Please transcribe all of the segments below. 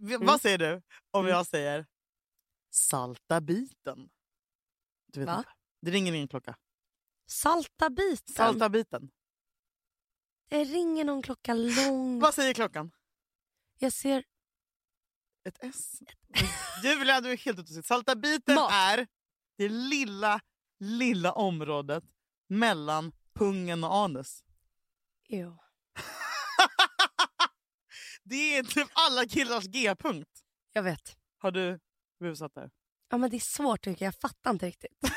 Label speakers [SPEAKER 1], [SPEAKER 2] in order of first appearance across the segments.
[SPEAKER 1] V-
[SPEAKER 2] Mm.
[SPEAKER 1] Vad säger du om jag säger salta biten? Du vet
[SPEAKER 2] Va?
[SPEAKER 1] inte. Det ringer ingen klocka.
[SPEAKER 2] Salta biten.
[SPEAKER 1] Salta biten.
[SPEAKER 2] Mm. Det ringer någon klocka långt.
[SPEAKER 1] Vad säger klockan?
[SPEAKER 2] Jag ser
[SPEAKER 1] Ett S. Julia, du är helt ute och cyklar. Salta biten
[SPEAKER 2] Mat.
[SPEAKER 1] är det lilla, lilla området mellan pungen och anus.
[SPEAKER 2] Ew.
[SPEAKER 1] Det är typ alla killars G-punkt.
[SPEAKER 2] Jag vet.
[SPEAKER 1] Har du busat där?
[SPEAKER 2] Ja, men det är svårt tycker jag. Jag fattar inte riktigt.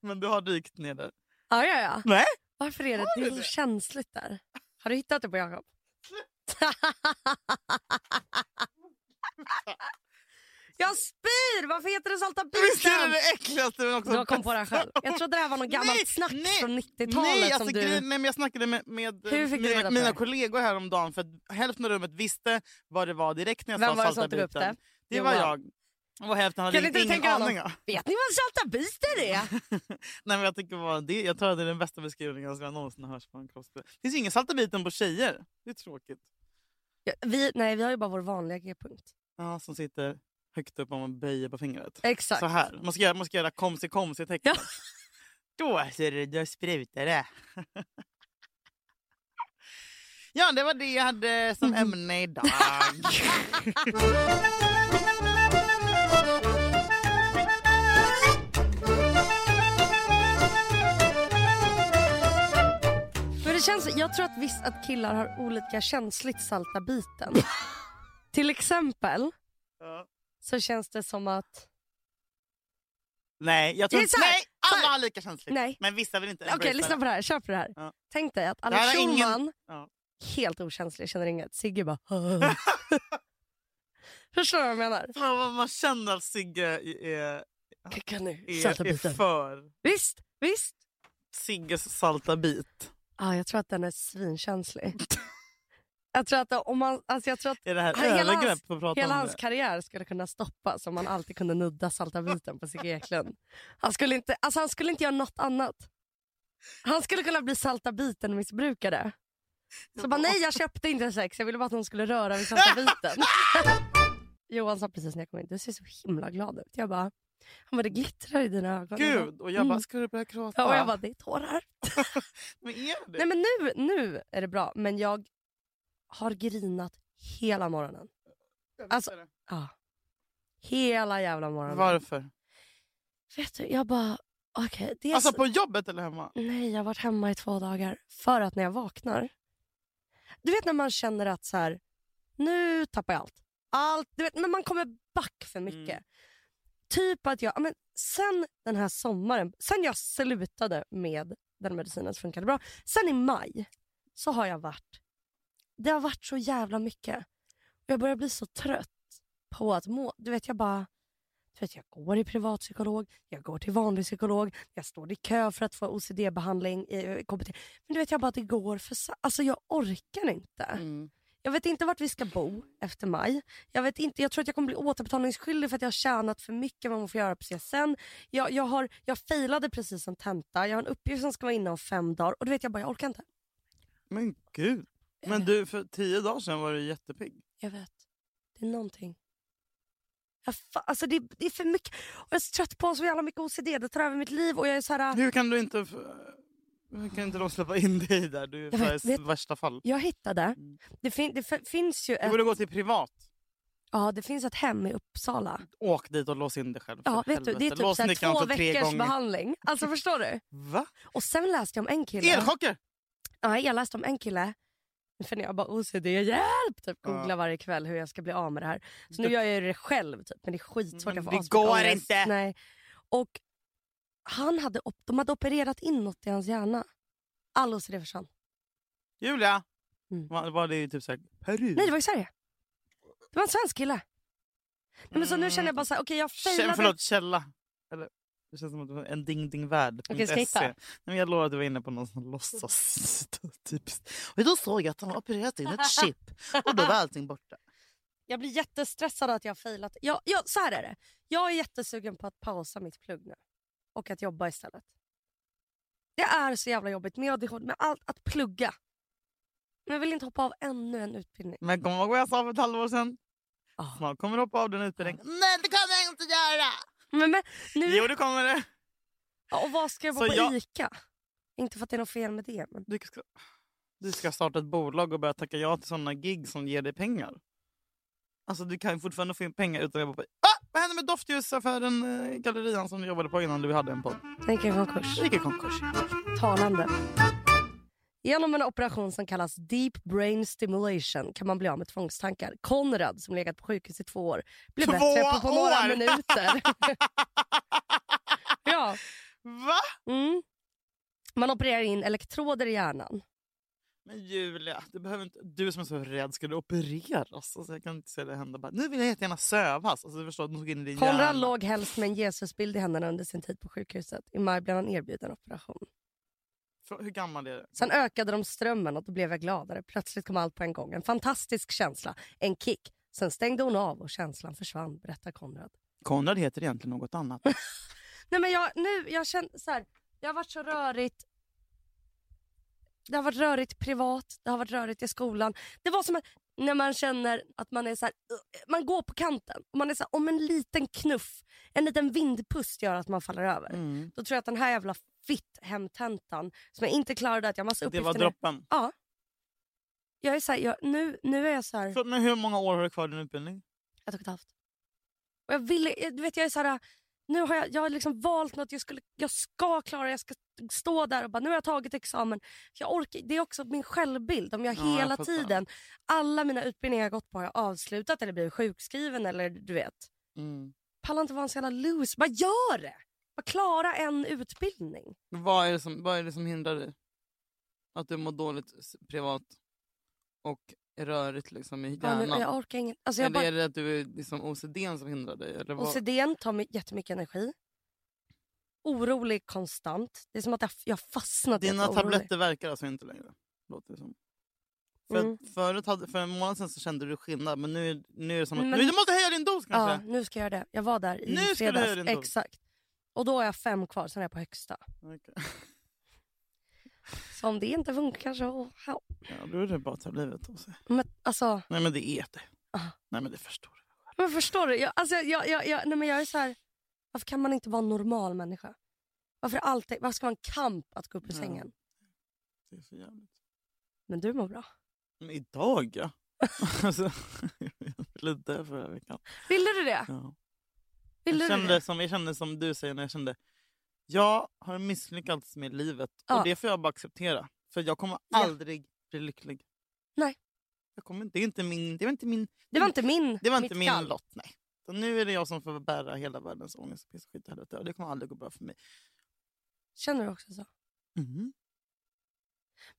[SPEAKER 1] Men du har dykt ner där.
[SPEAKER 2] Ja, ja, ja.
[SPEAKER 1] Nej.
[SPEAKER 2] Varför är det, det är så känsligt där? Har du hittat det på Jakob? jag spyr! Varför heter det salta
[SPEAKER 1] Visst är det
[SPEAKER 2] biten?
[SPEAKER 1] det äckligaste men också
[SPEAKER 2] Du har kom på
[SPEAKER 1] bästa.
[SPEAKER 2] det här själv. Jag trodde det här var något gammalt
[SPEAKER 1] Nej,
[SPEAKER 2] snack
[SPEAKER 1] nej,
[SPEAKER 2] från 90-talet
[SPEAKER 1] Nej, alltså,
[SPEAKER 2] som du...
[SPEAKER 1] grejen- nej, men jag snackade med, med eh,
[SPEAKER 2] Hur fick du reda
[SPEAKER 1] mina,
[SPEAKER 2] på
[SPEAKER 1] mina
[SPEAKER 2] det?
[SPEAKER 1] kollegor häromdagen för att hälften av rummet visste vad det var direkt när jag
[SPEAKER 2] Vem
[SPEAKER 1] sa
[SPEAKER 2] var det som
[SPEAKER 1] salta
[SPEAKER 2] tog upp
[SPEAKER 1] biten.
[SPEAKER 2] det?
[SPEAKER 1] Det
[SPEAKER 2] Jo,
[SPEAKER 1] var
[SPEAKER 2] wow.
[SPEAKER 1] jag. Och hälften hade
[SPEAKER 2] Kan inte du
[SPEAKER 1] ingen
[SPEAKER 2] tänka
[SPEAKER 1] aning.
[SPEAKER 2] honom? Vet ni vad salta biten är?
[SPEAKER 1] Nej, men jag, tycker bara, det, jag tror att det är den bästa beskrivningen som jag någonsin har hört på en kroppsdel. Det finns ju ingen salta biten på tjejer. Det är tråkigt.
[SPEAKER 2] Ja, vi, nej, vi har ju bara vår vanliga G-punkt.
[SPEAKER 1] Ja, som sitter högt upp om man böjer på fingret.
[SPEAKER 2] Exakt.
[SPEAKER 1] Så här. Man ska göra, man ska göra komsi komsi tecknet.
[SPEAKER 2] Ja.
[SPEAKER 1] Då ser du, då sprutar det. ja, det var det jag hade som
[SPEAKER 2] Mm.
[SPEAKER 1] ämne idag.
[SPEAKER 2] Men det känns, jag tror att visst att killar har olika känsligt salta biten. Till exempel
[SPEAKER 1] Ja.
[SPEAKER 2] så känns det som att...
[SPEAKER 1] Nej, jag tror
[SPEAKER 2] Det är
[SPEAKER 1] inte...
[SPEAKER 2] så här,
[SPEAKER 1] Nej,
[SPEAKER 2] så här.
[SPEAKER 1] alla har lika känsligt.
[SPEAKER 2] Nej.
[SPEAKER 1] Men vissa vill inte
[SPEAKER 2] Okej,
[SPEAKER 1] embracea
[SPEAKER 2] lyssna på det här. Kör på det här.
[SPEAKER 1] Ja.
[SPEAKER 2] Tänk dig att
[SPEAKER 1] här har
[SPEAKER 2] Alex
[SPEAKER 1] ingen-
[SPEAKER 2] Schulman,
[SPEAKER 1] Ja.
[SPEAKER 2] helt okänslig, känner inget. Sigge bara... Förstår du vad jag menar?
[SPEAKER 1] Fan vad man känner att Sigge är,
[SPEAKER 2] Klicka nu. Salta
[SPEAKER 1] är, är
[SPEAKER 2] biten.
[SPEAKER 1] för
[SPEAKER 2] Visst, visst.
[SPEAKER 1] Sigges salta bit.
[SPEAKER 2] Ah, jag tror att den är svinkänslig. jag tror att om man... Alltså jag tror att
[SPEAKER 1] Är det här
[SPEAKER 2] Han- hela
[SPEAKER 1] övergrepp
[SPEAKER 2] hans-
[SPEAKER 1] på att prata
[SPEAKER 2] Hela
[SPEAKER 1] om
[SPEAKER 2] hans
[SPEAKER 1] det?
[SPEAKER 2] karriär skulle kunna stoppas om han alltid kunde nudda salta biten på Sigge Eklund. Han skulle, inte, alltså han skulle inte göra något annat. Han skulle kunna bli salta biten-missbrukare. Så bara, nej jag köpte inte sex, jag ville bara att någon skulle röra vid salta biten. Johan sa precis när jag kom in, du ser så himla glad ut. Jag bara, han bara, det glittrar i dina ögon.
[SPEAKER 1] Gud! Och jag bara,
[SPEAKER 2] Mm.
[SPEAKER 1] ska du börja gråta?
[SPEAKER 2] Ja, och jag bara, det är tårar.
[SPEAKER 1] Men är det?
[SPEAKER 2] Nej men nu, nu är det bra, men jag har grinat hela morgonen.
[SPEAKER 1] Jag vet
[SPEAKER 2] alltså-
[SPEAKER 1] det.
[SPEAKER 2] Ja. Hela jävla morgonen.
[SPEAKER 1] Varför?
[SPEAKER 2] Vet du, jag bara... Okej, dels...
[SPEAKER 1] Alltså på jobbet eller hemma?
[SPEAKER 2] Nej, jag har varit hemma i två dagar. För att när jag vaknar... Du vet när man känner att så här, nu tappar jag allt. allt du vet, men man kommer back för mycket.
[SPEAKER 1] Mm.
[SPEAKER 2] Typ att jag... ja, Men sen den här sommaren, sen jag slutade med den medicinen så funkade det bra. Sen i maj så har jag varit... Det har varit så jävla mycket. Och jag börjar bli så trött på att må... Du vet, jag bara... Du vet, jag går i privatpsykolog, jag går till vanlig psykolog, jag står i kö för att få OCD-behandling. i- eh, KBT. Men du vet, jag bara, det går för... sa- Alltså jag orkar inte.
[SPEAKER 1] Mm.
[SPEAKER 2] Jag vet inte vart vi ska bo efter maj. Jag, vet inte, jag tror att jag kommer bli återbetalningsskyldig för att jag har tjänat för mycket än vad man får göra på CSN. Jag, jag, har, jag failade precis en tenta, jag har en uppgift som ska vara inne om fem dagar och du vet jag bara, jag orkar inte.
[SPEAKER 1] Men gud.
[SPEAKER 2] Eh.
[SPEAKER 1] Men du, för tio dagar sedan var du jättepigg.
[SPEAKER 2] Jag vet. Det är någonting. Jag fa- alltså det, det är för mycket. Och jag är så trött på så jävla mycket OCD. Det tar över mitt liv. Och jag är så här,
[SPEAKER 1] Hur kan du inte... f- eh, Hur kan inte de släppa in dig där? Du är
[SPEAKER 2] Jag vet-
[SPEAKER 1] Sveriges
[SPEAKER 2] vet-
[SPEAKER 1] värsta fall.
[SPEAKER 2] jag hittade.
[SPEAKER 1] Mm.
[SPEAKER 2] Det, fin- det f- finns ju
[SPEAKER 1] Du
[SPEAKER 2] ett,
[SPEAKER 1] borde gå till privat.
[SPEAKER 2] ja, det finns ett hem i Uppsala.
[SPEAKER 1] Åk dit och lås in dig själv.
[SPEAKER 2] Ja,
[SPEAKER 1] för
[SPEAKER 2] vet du, det är
[SPEAKER 1] helvete.
[SPEAKER 2] typ
[SPEAKER 1] lås
[SPEAKER 2] så här
[SPEAKER 1] in dig
[SPEAKER 2] två
[SPEAKER 1] kanske tre
[SPEAKER 2] veckors
[SPEAKER 1] gånger.
[SPEAKER 2] behandling. Alltså förstår du?
[SPEAKER 1] Va?
[SPEAKER 2] Och sen läste jag om en kille.
[SPEAKER 1] Elchocker!
[SPEAKER 2] Ja, jag läste om en kille. För när jag bara OCD, hjälp! Typ
[SPEAKER 1] Ja.
[SPEAKER 2] googla varje kväll hur jag ska bli av med det här. Så nu gör jag ju det själv typ, men det är skitsvårt.
[SPEAKER 1] Men
[SPEAKER 2] Jag får
[SPEAKER 1] Mm, det
[SPEAKER 2] asmycket
[SPEAKER 1] går
[SPEAKER 2] ångest.
[SPEAKER 1] inte.
[SPEAKER 2] Nej. Och han hade, op- de hade opererat in något i hans hjärna. All OCD försvann.
[SPEAKER 1] Julia!
[SPEAKER 2] Mm.
[SPEAKER 1] Var, var det ju typ såhär... Peru?
[SPEAKER 2] Nej, det var i Sverige. Det var en svensk kille. Nej, men så nu känner jag bara så här, okej jag
[SPEAKER 1] Kä-
[SPEAKER 2] failade.
[SPEAKER 1] förlåt, källa. Eller, det känns som att det var en dingdingvärld.
[SPEAKER 2] Okej, ska jag hitta?
[SPEAKER 1] Nej, men jag lovar att du var inne på någon som låtsas. Typiskt. Och då såg jag att han har opererat in ett chip och då var allting borta.
[SPEAKER 2] Jag blir jättestressad att jag har failat. Jag, jag, så här är det. Jag är jättesugen på att pausa mitt plugg nu och att jobba istället. Det är så jävla jobbigt med ADHD, med allt att plugga. Men jag vill inte hoppa av ännu en utbildning.
[SPEAKER 1] Men kom ihåg vad jag sa för ett halvår sedan?
[SPEAKER 2] Ja.
[SPEAKER 1] Snart kommer du hoppa av den utbildningen. Nej, det kommer jag inte göra!
[SPEAKER 2] Men, men, nu,
[SPEAKER 1] Jo, det kommer det.
[SPEAKER 2] Ja, och vad ska jag vara
[SPEAKER 1] Så
[SPEAKER 2] på
[SPEAKER 1] jag-
[SPEAKER 2] ICA? Inte för att det är något fel med det. Men...
[SPEAKER 1] Du ska, du ska starta ett bolag och börja tacka ja till sådana gig som ger dig pengar. Alltså du kan ju fortfarande få in pengar utan att jobba på... Ah! Vad hände med doftljusaffären, eh, gallerian som du jobbade på innan du hade en podd?
[SPEAKER 2] Tänk er konkurs.
[SPEAKER 1] Det gick i konkurs.
[SPEAKER 2] talande. Genom en operation som kallas deep brain stimulation kan man bli av med tvångstankar. Konrad, som legat på sjukhus i två år, blir
[SPEAKER 1] Två
[SPEAKER 2] bättre på, på några
[SPEAKER 1] år!
[SPEAKER 2] minuter. ja.
[SPEAKER 1] Va?
[SPEAKER 2] mm. Man opererar in elektroder i hjärnan.
[SPEAKER 1] Men Julia, du, behöver inte, du som är så rädd, ska du opereras? Alltså, jag kan inte se det hända. Bara, nu vill jag jättegärna sövas. Alltså, du förstår, de tog in i din hjärna.
[SPEAKER 2] Konrad låg helst med en Jesusbild i händerna under sin tid på sjukhuset. I maj blev han erbjuden operation.
[SPEAKER 1] Frå- Hur gammal är du?
[SPEAKER 2] Sen ökade de strömmen och då blev jag gladare. Plötsligt kom allt på en gång. En fantastisk känsla. En kick. Sen stängde hon av och känslan försvann, berättar Konrad.
[SPEAKER 1] Konrad heter egentligen något annat.
[SPEAKER 2] Nej men jag, nu, jag känner så här, det har varit så rörigt. Det har varit rörigt privat, det har varit rörigt i skolan. Det var som att, när man känner att man är så här, "Ugh", man går på kanten. Och man är så här, om en liten knuff, en liten vindpust gör att man faller över.
[SPEAKER 1] Mm.
[SPEAKER 2] Då tror jag att den här jävla fitt hemtentan som jag inte klarade, att jag har massa
[SPEAKER 1] Det var
[SPEAKER 2] uppgifter nu.
[SPEAKER 1] droppen.
[SPEAKER 2] Jag är så här, jag, nu, nu är jag så här,
[SPEAKER 1] Förlåt, men hur många år har du kvar i din utbildning?
[SPEAKER 2] ett och ett halvt. Och jag ville, jag- du vet jag är så här, nu har jag, jag har liksom valt något, jag, skulle, jag ska klara det, jag ska stå där och bara nu har jag tagit examen. Jag orkar, det är också min självbild, om jag
[SPEAKER 1] Ja, jag
[SPEAKER 2] hela
[SPEAKER 1] fattar.
[SPEAKER 2] tiden, alla mina utbildningar jag gått på har jag avslutat eller blivit sjukskriven eller du vet.
[SPEAKER 1] Mm.
[SPEAKER 2] Pallar inte vara en sån jävla loose, bara gör det! Bara klara en utbildning.
[SPEAKER 1] Vad, är det som, vad är det som hindrar dig? Att du mår dåligt s- privat och är rörigt liksom, i
[SPEAKER 2] Ja,
[SPEAKER 1] hjärnan?
[SPEAKER 2] nu, jag orkar inget. Alltså
[SPEAKER 1] eller
[SPEAKER 2] jag bara,
[SPEAKER 1] är det att du är liksom OCD som hindrar dig? Eller vad?
[SPEAKER 2] OCDn tar mig jättemycket energi. Orolig konstant. Det är som att jag, jag har fastnat i att
[SPEAKER 1] Dina
[SPEAKER 2] vara orolig.
[SPEAKER 1] tabletter verkar alltså inte längre? Låter det som. För, att
[SPEAKER 2] Mm.
[SPEAKER 1] förut hade, för en månad sedan så kände du skillnad men nu, är- nu är det som att
[SPEAKER 2] Men-
[SPEAKER 1] nu, du måste höja din dos kanske.
[SPEAKER 2] Ja, nu ska jag göra det. Jag var där i
[SPEAKER 1] Nu ska du
[SPEAKER 2] fredags.
[SPEAKER 1] höja din dos.
[SPEAKER 2] Exakt. Och då har jag fem kvar, sen är jag på högsta.
[SPEAKER 1] Okej.
[SPEAKER 2] Så om det inte funkar så... ja.
[SPEAKER 1] Ja, då är det bara att ta livet av sig.
[SPEAKER 2] Men, alltså,
[SPEAKER 1] Nej men det är det.
[SPEAKER 2] Ah.
[SPEAKER 1] Nej men det förstår jag.
[SPEAKER 2] men förstår du? Jag, alltså, jag, jag, jag, nej, men jag är så här, varför kan man inte vara en normal människa? Varför, är det alltid, varför ska man kamp att gå upp ur
[SPEAKER 1] Ja.
[SPEAKER 2] sängen?
[SPEAKER 1] Det är så jävligt.
[SPEAKER 2] Men du mår bra.
[SPEAKER 1] Men idag ja. alltså, jag ville dö förra veckan.
[SPEAKER 2] Ville du det?
[SPEAKER 1] Ja.
[SPEAKER 2] Ville
[SPEAKER 1] Jag,
[SPEAKER 2] Ah, du det?
[SPEAKER 1] kände som, jag kände som du säger när jag kände jag har misslyckats med livet
[SPEAKER 2] Ja.
[SPEAKER 1] och det får jag bara acceptera. För jag kommer
[SPEAKER 2] Ja.
[SPEAKER 1] aldrig bli lycklig.
[SPEAKER 2] Nej.
[SPEAKER 1] Jag kommer, inte- det är inte min, det är inte min
[SPEAKER 2] Det var inte min,
[SPEAKER 1] Det var
[SPEAKER 2] mitt
[SPEAKER 1] inte min
[SPEAKER 2] kall.
[SPEAKER 1] lott. Nej. Så nu är det jag som får bära hela världens ångest och piss och skit och helvete. Och det kommer aldrig gå bra för mig.
[SPEAKER 2] Känner du också så? Mm.
[SPEAKER 1] Mhm.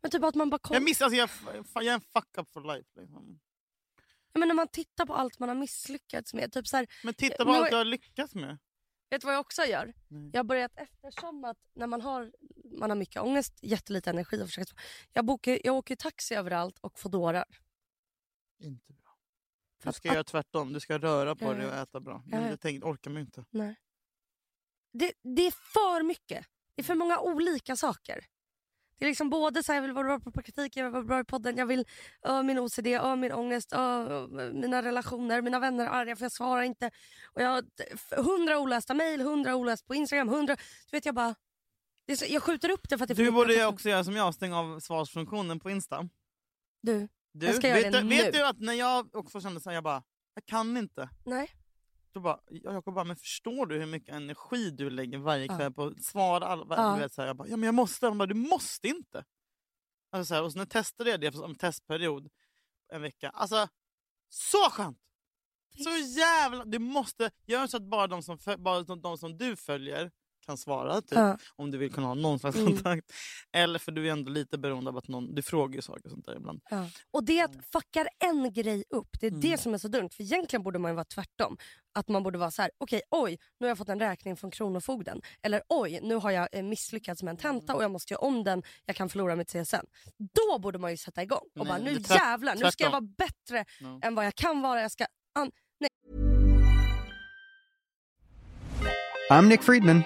[SPEAKER 2] Men typ att man bara kom...
[SPEAKER 1] Jag, miss, alltså jag, fan, jag är en fuck up for life. Liksom.
[SPEAKER 2] Ja, men när man tittar på allt man har misslyckats med. Typ så här,
[SPEAKER 1] Men titta på
[SPEAKER 2] Men-
[SPEAKER 1] allt jag har lyckats med.
[SPEAKER 2] vet du vad jag också gör?
[SPEAKER 1] Nej.
[SPEAKER 2] Jag har börjat eftersom att när man har, man har mycket ångest, jättelite energi och försöker... Jag, bokar, jag åker ju taxi överallt och fodora.
[SPEAKER 1] Inte bra.
[SPEAKER 2] För
[SPEAKER 1] Du
[SPEAKER 2] att- Eh,
[SPEAKER 1] ska göra tvärtom. Du ska röra på
[SPEAKER 2] Jag
[SPEAKER 1] dig och
[SPEAKER 2] vet.
[SPEAKER 1] äta bra.
[SPEAKER 2] Jag
[SPEAKER 1] Men
[SPEAKER 2] vet.
[SPEAKER 1] jag tänkte, orkar man ju inte.
[SPEAKER 2] det, det är för mycket. Det är för många olika saker. Det är liksom både så här, jag vill vara bra på praktik, jag vill vara bra i podden, jag vill ö, min OCD, ö, min ångest, ö, ö, mina relationer, mina vänner är arga för jag svarar inte. Och jag har t- hundra olästa mejl, hundra oläst på Instagram, hundra... Du vet jag bara... Det är så, jag skjuter upp det för att det är för
[SPEAKER 1] Du
[SPEAKER 2] mycket
[SPEAKER 1] borde
[SPEAKER 2] att-
[SPEAKER 1] ju också göra som jag, stänga av svarsfunktionen på Insta.
[SPEAKER 2] Du,
[SPEAKER 1] Du,
[SPEAKER 2] Jag ska göra
[SPEAKER 1] vet,
[SPEAKER 2] det
[SPEAKER 1] du,
[SPEAKER 2] nu.
[SPEAKER 1] vet du att när jag också kände så här, jag bara, jag kan inte.
[SPEAKER 2] nej.
[SPEAKER 1] Då bara, jag Jakob bara, men förstår du hur mycket energi du lägger varje
[SPEAKER 2] Ja.
[SPEAKER 1] kväll på att svara alla?
[SPEAKER 2] Ja.
[SPEAKER 1] Du vet, så här, jag bara, ja men jag måste. Han bara, du måste inte. Alltså, så här, och sen testade jag det för- som testperiod en vecka. Alltså, så skönt! Så jävla... Du måste göra så att bara de som, föl- bara de, de som du följer kan svara, typ,
[SPEAKER 2] Ja.
[SPEAKER 1] om du vill kunna ha någon slags
[SPEAKER 2] Mm.
[SPEAKER 1] kontakt. Eller för du är ändå lite beroende av att någon... Du frågar ju saker och sånt där ibland.
[SPEAKER 2] Och det att fuckar en grej upp, det är
[SPEAKER 1] Mm.
[SPEAKER 2] det som är så dumt. För egentligen borde man ju vara tvärtom. Att man borde vara så här: okej oj, nu har jag fått en räkning från Kronofogden. Eller oj, nu har jag eh, misslyckats med en
[SPEAKER 1] Mm.
[SPEAKER 2] tenta och jag måste göra om den, jag kan förlora mitt CSN. Då borde man ju sätta igång och
[SPEAKER 1] Nej,
[SPEAKER 2] bara,
[SPEAKER 1] det
[SPEAKER 2] nu
[SPEAKER 1] är tvärt-
[SPEAKER 2] jävlar, nu ska jag vara
[SPEAKER 1] tvärtom.
[SPEAKER 2] bättre
[SPEAKER 1] Ja.
[SPEAKER 2] än vad jag kan vara. Jag ska an-
[SPEAKER 3] I'm Nick Friedman.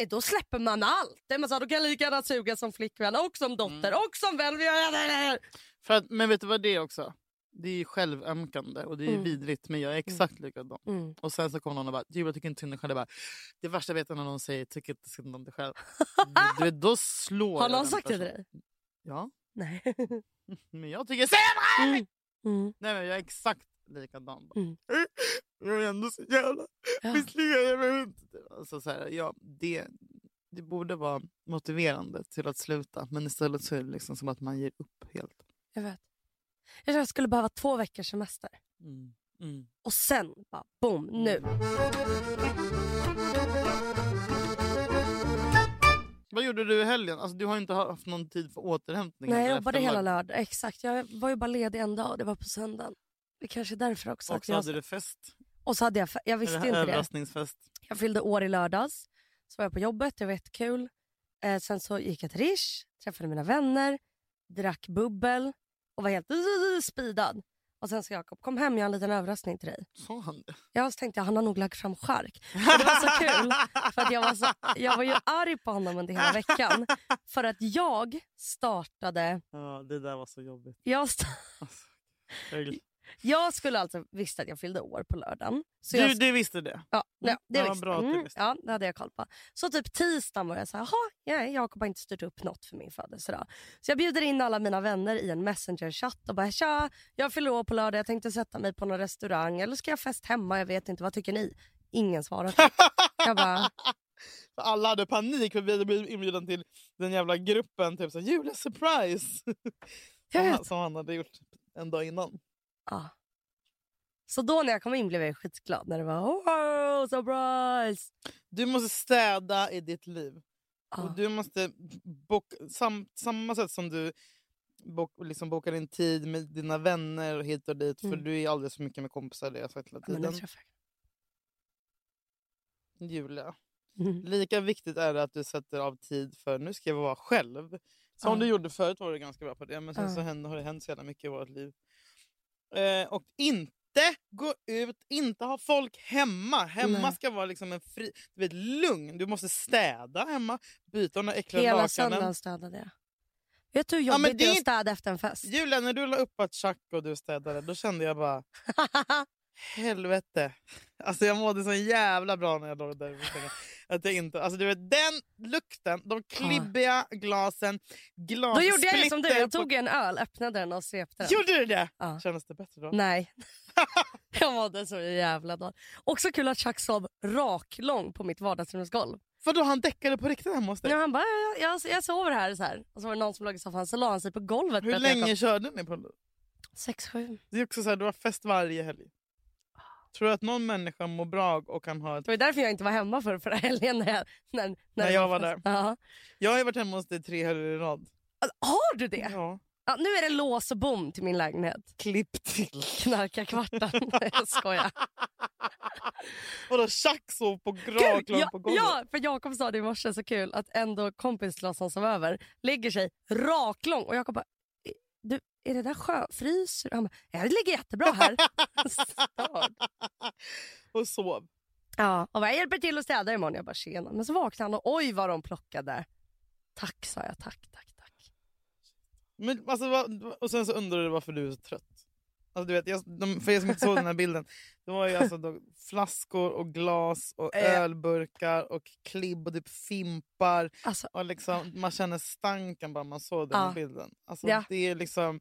[SPEAKER 2] Eh, Då släpper man allt. Det är man så här, då kan jag lika gärna suga som flickvän och som dotter
[SPEAKER 1] Mm.
[SPEAKER 2] och som vän.
[SPEAKER 1] För att, men vet du vad det är också? Det är ju självömkande och det är ju
[SPEAKER 2] Mm.
[SPEAKER 1] vidrigt men jag är exakt likadan.
[SPEAKER 2] Mm.
[SPEAKER 1] Och sen så kommer någon och bara “Julia tycker inte synd om dig själv”. Jag bara, Det värsta jag vet är när någon säger “tycker inte synd om dig själv”. du vet, då slår
[SPEAKER 2] Har
[SPEAKER 1] jag
[SPEAKER 2] någon
[SPEAKER 1] den
[SPEAKER 2] sagt det till
[SPEAKER 1] personen.
[SPEAKER 2] dig?
[SPEAKER 1] Ja,
[SPEAKER 2] Nej.
[SPEAKER 1] men jag tycker sämre!
[SPEAKER 2] Mm. Mm.
[SPEAKER 1] Nej men jag är exakt likadan. Bara,
[SPEAKER 2] Mm.
[SPEAKER 1] Jag är ändå så jävla
[SPEAKER 2] Ja.
[SPEAKER 1] misslyckad. jag vet inte." Alltså, så här, ja, det, det borde vara motiverande till att sluta men istället så är det liksom som att man ger upp helt.
[SPEAKER 2] Jag vet. Jag tror jag skulle behöva två veckors semester.
[SPEAKER 1] Mm. Mm.
[SPEAKER 2] Och sen bara boom, nu.
[SPEAKER 1] Vad gjorde du i helgen? Alltså, du har ju inte haft någon tid för återhämtning.
[SPEAKER 2] Nej,
[SPEAKER 1] efter
[SPEAKER 2] jag jobbade hela
[SPEAKER 1] lördag.
[SPEAKER 2] lördag. Exakt. Jag var ju bara ledig en dag och det var på söndagen. Det kanske är därför också.
[SPEAKER 1] Och
[SPEAKER 2] att
[SPEAKER 1] så
[SPEAKER 2] jag,
[SPEAKER 1] hade du fest.
[SPEAKER 2] och så hade jag, fe- jag visste
[SPEAKER 1] Eller
[SPEAKER 2] inte det.
[SPEAKER 1] överraskningsfest.
[SPEAKER 2] Jag fyllde år i lördags. Så var jag på jobbet, det var jättekul. Eh, sen så gick jag till Rish, träffade mina vänner, drack bubbel och var helt speedad. Och sen sa Jakob, kom hem, jag har en liten överraskning till dig.
[SPEAKER 1] Sa han det?
[SPEAKER 2] Jag tänkte, han har nog lagt fram chark. Och det var så kul, för att jag var, så, jag var ju arg på honom under hela veckan. För att jag startade...
[SPEAKER 1] Ja, det där var så jobbigt.
[SPEAKER 2] Jag, sta-
[SPEAKER 1] Alltså, jag...
[SPEAKER 2] jag skulle alltså visste att jag fyllde år på lördagen. Så jag
[SPEAKER 1] Du, du visste det?
[SPEAKER 2] Ja, nej, det
[SPEAKER 1] ja,
[SPEAKER 2] visste
[SPEAKER 1] bra
[SPEAKER 2] jag.
[SPEAKER 1] att du
[SPEAKER 2] Mm,
[SPEAKER 1] visste.
[SPEAKER 2] ja, det hade jag koll på. Så typ tisdagen var jag så här, "Jaha, nej, Jakob har inte styrt upp något för min födelsedag. Så jag bjuder in alla mina vänner i en messengerchatt och bara tja, jag fyller år på lördag, jag tänkte sätta mig på någon restaurang eller ska jag fest hemma, jag vet inte, vad tycker ni? Ingen svarade. Jag bara,
[SPEAKER 1] För Alla hade panik för vi hade blivit inbjudna till den jävla gruppen. Typ såhär, Julia surprise!
[SPEAKER 2] Jag
[SPEAKER 1] som,
[SPEAKER 2] vet.
[SPEAKER 1] han, som han hade gjort en dag innan.
[SPEAKER 2] ja. Så då när jag kom in blev jag skitglad när det var oh, surprise.
[SPEAKER 1] Du måste städa i ditt liv.
[SPEAKER 2] Ja.
[SPEAKER 1] Och du måste boka, sam, samma sätt som du bok, liksom bokar in tid med dina vänner och hit och dit. För
[SPEAKER 2] Mm.
[SPEAKER 1] du är alldeles för mycket med kompisar, det har jag sagt hela
[SPEAKER 2] Ja, men nu
[SPEAKER 1] tiden.
[SPEAKER 2] träffar
[SPEAKER 1] Julia,
[SPEAKER 2] jag. Mm.
[SPEAKER 1] lika viktigt är det att du sätter av tid för nu ska jag vara själv. Som
[SPEAKER 2] Ja.
[SPEAKER 1] du gjorde förut var du ganska bra på det, men sen
[SPEAKER 2] Ja.
[SPEAKER 1] så händer, har det hänt så jävla mycket i vårt liv. Eh, och inte gå ut, inte ha folk hemma. Hemma
[SPEAKER 2] Nej.
[SPEAKER 1] ska vara liksom en fri, du vet, lugn. Du måste städa hemma, byta de där äckliga
[SPEAKER 2] Hela
[SPEAKER 1] lakanen.
[SPEAKER 2] söndagen städade jag. Vet du hur
[SPEAKER 1] Ja, men
[SPEAKER 2] jobbigt
[SPEAKER 1] det
[SPEAKER 2] det är
[SPEAKER 1] är
[SPEAKER 2] att
[SPEAKER 1] inte-
[SPEAKER 2] städa efter en fest?
[SPEAKER 1] Julia, när du la upp att Chuck och du städade, då kände jag bara helvete. Alltså jag mådde så jävla bra när jag låg där. vid sängen. Att jag inte, alltså du vet, den lukten, de klibbiga glasen, glassplitter.
[SPEAKER 2] Ah. Då gjorde jag det som du, jag
[SPEAKER 1] på-
[SPEAKER 2] tog en öl, öppnade den och svepte den.
[SPEAKER 1] Gjorde du det?
[SPEAKER 2] Ja.
[SPEAKER 1] Kändes det bättre då?
[SPEAKER 2] Nej. jag mådde så jävla dåligt. Också kul att Chuck sov raklång på mitt vardagsrumsgolv.
[SPEAKER 1] För då han däckade på riktigt hemma hos dig?
[SPEAKER 2] Ja, han bara, jag, jag, jag sover här. Så här. Och så var det någon som låg i soffan så la han sig på golvet.
[SPEAKER 1] Hur länge körde ni? på
[SPEAKER 2] Sex, sju.
[SPEAKER 1] Det är också så här, du har fest varje helg. Tror du att någon människa mår bra och kan ha ett...
[SPEAKER 2] Det var ju därför jag inte var hemma för förra helgen. När jag, när, när
[SPEAKER 1] När
[SPEAKER 2] det
[SPEAKER 1] jag var
[SPEAKER 2] fest. Ja.
[SPEAKER 1] Jag har ju varit hemma hos dig tre helger i rad.
[SPEAKER 2] Alltså, har du det?
[SPEAKER 1] Ja.
[SPEAKER 2] Ja, nu är det lås och bom till min lägenhet.
[SPEAKER 1] Klipp till.
[SPEAKER 2] Knarkarkvarten. Nej, jag skojar.
[SPEAKER 1] Vadå, Chuck sov på
[SPEAKER 2] Gud,
[SPEAKER 1] raklång på golvet?
[SPEAKER 2] ja, för Jakob sa det i morse så kul att en då kompis till oss som sov över lägger sig raklång och Jakob bara "E- du, är det där sjö? Fryser du?" Han bara, "Ja, det ligger jättebra här. Störd.
[SPEAKER 1] och sov.
[SPEAKER 2] ja, och bara, jag hjälper till att städa imorgon. Jag bara tjena. Men så vaknade han och oj vad de plockade. Tack sa jag, tack, tack, tack.
[SPEAKER 1] Men, alltså, vad- och sen så undrar du varför du är så trött. Alltså, du vet, jag, de, för er som inte såg den här bilden. Det var ju alltså då flaskor och glas och
[SPEAKER 2] Eh.
[SPEAKER 1] ölburkar och klibb och typ fimpar.
[SPEAKER 2] Alltså,
[SPEAKER 1] Och liksom, man känner stanken bara man såg den
[SPEAKER 2] Ja.
[SPEAKER 1] här bilden. Alltså,
[SPEAKER 2] Ja.
[SPEAKER 1] Det är liksom...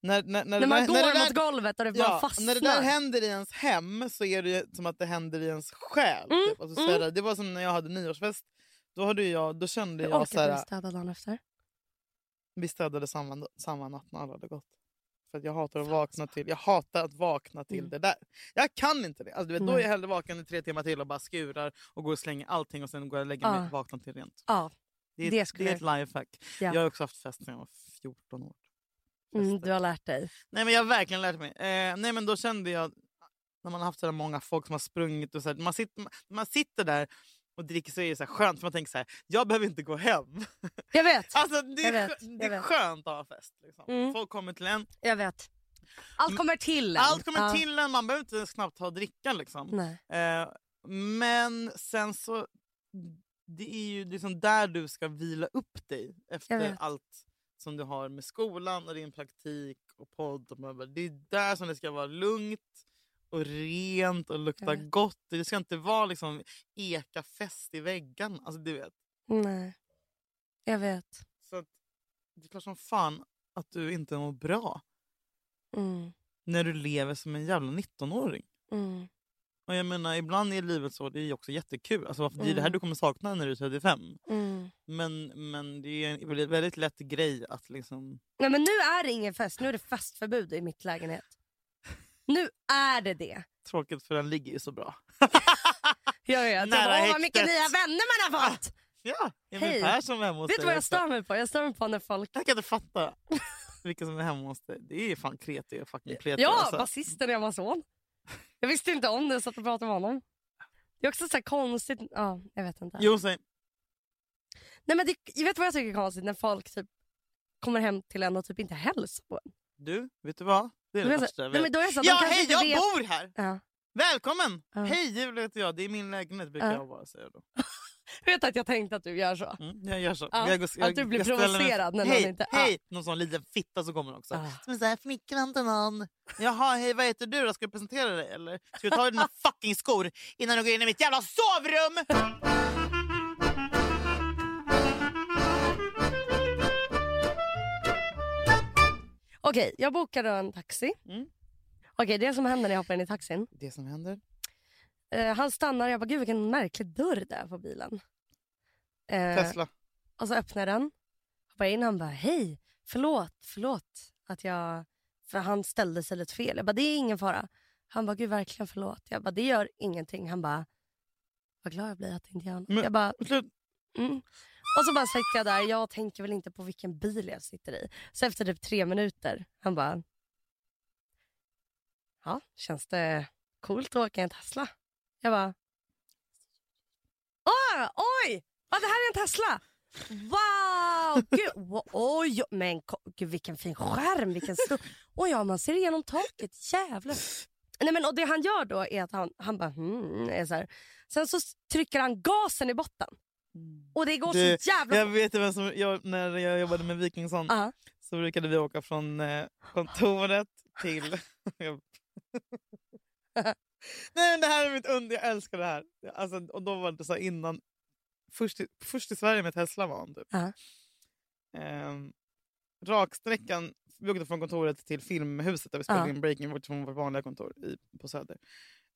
[SPEAKER 1] När, när, när,
[SPEAKER 2] när man
[SPEAKER 1] när,
[SPEAKER 2] går
[SPEAKER 1] när det där,
[SPEAKER 2] mot golvet och det bara
[SPEAKER 1] ja,
[SPEAKER 2] fastnar.
[SPEAKER 1] när det där händer i ens hem så är det ju som att det händer i ens själ.
[SPEAKER 2] Mm,
[SPEAKER 1] Typ. Alltså, så
[SPEAKER 2] mm.
[SPEAKER 1] här, det var som när jag hade nyårsfest Då, hade jag, då kände
[SPEAKER 2] Hur
[SPEAKER 1] jag så
[SPEAKER 2] orkade du
[SPEAKER 1] här,
[SPEAKER 2] städa dagen efter?
[SPEAKER 1] vi städade samma, samma natt när alla hade gått. För att jag hatar att vakna till Jag hatar att vakna till
[SPEAKER 2] alltså. Mm.
[SPEAKER 1] det där. Jag kan inte det. Alltså, du vet, då är
[SPEAKER 2] Nej.
[SPEAKER 1] jag hellre vaken i tre timmar till och bara skurar och går och slänger allting och sen går jag och lägger mig
[SPEAKER 2] Ah.
[SPEAKER 1] och vaknar till rent.
[SPEAKER 2] Ja.
[SPEAKER 1] Det är,
[SPEAKER 2] Det
[SPEAKER 1] det
[SPEAKER 2] skulle
[SPEAKER 1] är ett lifehack.
[SPEAKER 2] Ja.
[SPEAKER 1] Jag har också haft fest när jag var 14 år.
[SPEAKER 2] Mm,
[SPEAKER 1] Fester.
[SPEAKER 2] du har lärt dig.
[SPEAKER 1] Nej men jag har verkligen lärt mig. Eh, nej men då kände jag, när man har haft så där många folk som har sprungit och så här, man, sitter, man sitter där och dricker så är det så här skönt för man tänker så här, jag behöver inte gå hem.
[SPEAKER 2] Jag vet!
[SPEAKER 1] Alltså det är,
[SPEAKER 2] Jag vet,
[SPEAKER 1] skö-
[SPEAKER 2] jag
[SPEAKER 1] det är
[SPEAKER 2] vet.
[SPEAKER 1] skönt att ha fest. Liksom.
[SPEAKER 2] Mm.
[SPEAKER 1] Folk kommer till en,
[SPEAKER 2] Jag vet. Allt
[SPEAKER 1] Mm.
[SPEAKER 2] kommer till en.
[SPEAKER 1] allt kommer
[SPEAKER 2] Ja.
[SPEAKER 1] till en, man behöver inte ens knappt ha dricka liksom.
[SPEAKER 2] Nej.
[SPEAKER 1] Eh, men sen så, det är ju liksom där du ska vila upp dig efter
[SPEAKER 2] vet.
[SPEAKER 1] allt som du har med skolan och din praktik och podd. Och bla bla. det är där som det ska vara lugnt och rent och lukta
[SPEAKER 2] Jag vet.
[SPEAKER 1] gott. Det ska inte vara liksom eka fest i väggarna. Alltså, du vet.
[SPEAKER 2] Nej. Jag vet.
[SPEAKER 1] Så att, det är klart som fan att du inte mår bra
[SPEAKER 2] Mm.
[SPEAKER 1] när du lever som en jävla 19-åring.
[SPEAKER 2] Mm.
[SPEAKER 1] Och jag menar, ibland är livet så, det är ju också jättekul. Alltså, varför- Det är det här
[SPEAKER 2] Mm.
[SPEAKER 1] du kommer sakna när du är 35.
[SPEAKER 2] Mm.
[SPEAKER 1] Men, men det är en väldigt- väldigt lätt grej att liksom...
[SPEAKER 2] Nej, men nu är det ingen fest. Nu är det festförbud i mitt lägenhet. Nu är det det.
[SPEAKER 1] Tråkigt för den ligger ju så bra.
[SPEAKER 2] Jag vet. Jag
[SPEAKER 1] Nära
[SPEAKER 2] bara, Åh, vad mycket
[SPEAKER 1] häktet."
[SPEAKER 2] nya vänner man har fått!
[SPEAKER 1] Ja, Emil
[SPEAKER 2] Hej.
[SPEAKER 1] Persson var hemma hos
[SPEAKER 2] Vet du
[SPEAKER 1] dig
[SPEAKER 2] vad jag
[SPEAKER 1] också.
[SPEAKER 2] stör mig på? Jag stör mig på när folk...
[SPEAKER 1] Jag kan inte fatta vilka som är hemma hos dig. Det är ju fan kreti och fucking pleti.
[SPEAKER 2] Ja,
[SPEAKER 1] alltså.
[SPEAKER 2] basisten i Amazon. Jag visste inte om det, jag satt och pratade med honom. Det är också så här konstigt... Ja, jag vet inte.
[SPEAKER 1] Jo, säg.
[SPEAKER 2] Nej, men det, jag vet vad jag tycker är konstigt? När folk typ kommer hem till en och typ inte hälsar på en.
[SPEAKER 1] Du, vet du vad? Det är det
[SPEAKER 2] Då är jag så
[SPEAKER 1] värsta
[SPEAKER 2] här-
[SPEAKER 1] jag
[SPEAKER 2] Nej, men
[SPEAKER 1] vet.
[SPEAKER 2] då är jag så här,
[SPEAKER 1] Ja,
[SPEAKER 2] de kanske
[SPEAKER 1] hej,
[SPEAKER 2] inte
[SPEAKER 1] jag
[SPEAKER 2] vet...
[SPEAKER 1] bor här!
[SPEAKER 2] Ja.
[SPEAKER 1] Välkommen!
[SPEAKER 2] Ja.
[SPEAKER 1] Hej, Julia heter jag. Det är min lägenhet, brukar
[SPEAKER 2] Ja.
[SPEAKER 1] jag bara säga då.
[SPEAKER 2] Jag vet att jag tänkte att du gör så.
[SPEAKER 1] Mm, jag gör så.
[SPEAKER 2] Ja,
[SPEAKER 1] Jag går-
[SPEAKER 2] att du blir
[SPEAKER 1] jag ställer mig-
[SPEAKER 2] provocerad när någon
[SPEAKER 1] hej,
[SPEAKER 2] inte-
[SPEAKER 1] Hej! Någon sån liten fitta som kommer också.
[SPEAKER 2] Ah.
[SPEAKER 1] Som är såhär, fnickran till någon. Jaha, hej vad heter du då? Ska du presentera dig eller? Ska du ta av dina fucking skor innan du går in i mitt jävla sovrum?
[SPEAKER 2] Okej, jag bokade en taxi.
[SPEAKER 1] Mm.
[SPEAKER 2] Okej, det som händer när jag hoppar in i taxin.
[SPEAKER 1] Det som händer.
[SPEAKER 2] Eh, han stannar och jag bara, gud vilken märklig dörr det är på bilen. Eh,
[SPEAKER 1] Tesla.
[SPEAKER 2] Och så öppnar jag den. Hoppar in han bara, hej, förlåt, förlåt att jag... För han ställde sig lite fel. Jag bara, det är ingen fara. Han bara, gud verkligen förlåt. Jag bara, det gör ingenting. Han bara, vad glad jag blir att det inte gör något.
[SPEAKER 1] Men-
[SPEAKER 2] Jag bara,
[SPEAKER 1] Slut.
[SPEAKER 2] Mm. Och så bara sitter jag där, jag tänker väl inte på vilken bil jag sitter i. Så efter typ tre minuter, han bara... Ja, känns det coolt att åka i en Tesla? Jag bara... Åh, oj! Ja, det här är en Tesla! Wow! Gud, wo- oj, men ko- gud, vilken fin skärm, vilken stor... Oj, ja, man ser igenom taket, jävlar. Nej, men, och det han gör då är att han, han bara... Hmm, är så här. Sen så s- trycker han gasen i botten. Och det går
[SPEAKER 1] Du,
[SPEAKER 2] så jävla...
[SPEAKER 1] Jag vet ju vem som, jag, när jag jobbade med Vikingsson
[SPEAKER 2] Ja.
[SPEAKER 1] så brukade vi åka från eh, kontoret till... Nej men det här är mitt under, jag älskar det här. Alltså, och då var det så här innan, först i, först i Sverige med Tesla var han typ.
[SPEAKER 2] Ja.
[SPEAKER 1] Ehm, raksträckan, vi åkte från kontoret till filmhuset där vi spelade
[SPEAKER 2] Ja.
[SPEAKER 1] in Breaking Watch från vårt vanliga kontor i, på Söder.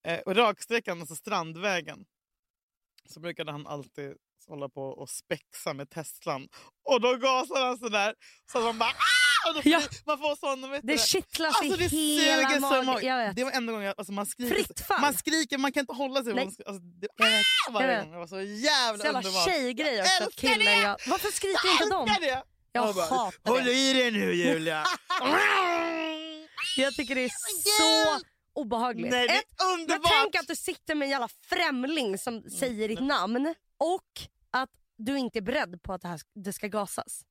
[SPEAKER 1] Eh, och raksträckan, alltså Strandvägen, så brukade han alltid hålla på och spexa med Teslan. Och då gasar han sådär så att man bara ah! och då får
[SPEAKER 2] Ja.
[SPEAKER 1] det- Man får sån... Vet du
[SPEAKER 2] Det kittlas
[SPEAKER 1] alltså, det
[SPEAKER 2] i hela
[SPEAKER 1] suger så
[SPEAKER 2] magen.
[SPEAKER 1] många-
[SPEAKER 2] Jag vet.
[SPEAKER 1] Det var enda gången jag, alltså, man skriker.
[SPEAKER 2] Fritt fall.
[SPEAKER 1] Man skriker, man kan inte hålla sig.
[SPEAKER 2] Nej.
[SPEAKER 1] Man, sk- alltså, det,
[SPEAKER 2] Jag vet.
[SPEAKER 1] ah! varje
[SPEAKER 2] vet.
[SPEAKER 1] gång. Det var så jävla,
[SPEAKER 2] Så jävla
[SPEAKER 1] underbart.
[SPEAKER 2] tjejgrej också.
[SPEAKER 1] Jag
[SPEAKER 2] Att
[SPEAKER 1] älskar
[SPEAKER 2] killen jag... Varför skriker inte de?
[SPEAKER 1] Älskar det!
[SPEAKER 2] Jag
[SPEAKER 1] Och bara,
[SPEAKER 2] hatar
[SPEAKER 1] Håll
[SPEAKER 2] det.
[SPEAKER 1] i dig nu Julia!
[SPEAKER 2] Jag tycker det är
[SPEAKER 1] Åh,
[SPEAKER 2] så obehagligt.
[SPEAKER 1] Nej, det är
[SPEAKER 2] Ett, men
[SPEAKER 1] underbart! Mm.
[SPEAKER 2] tänk att du sitter med en jävla främling som säger ditt namn och att du inte är beredd på att det, här, det ska gasas.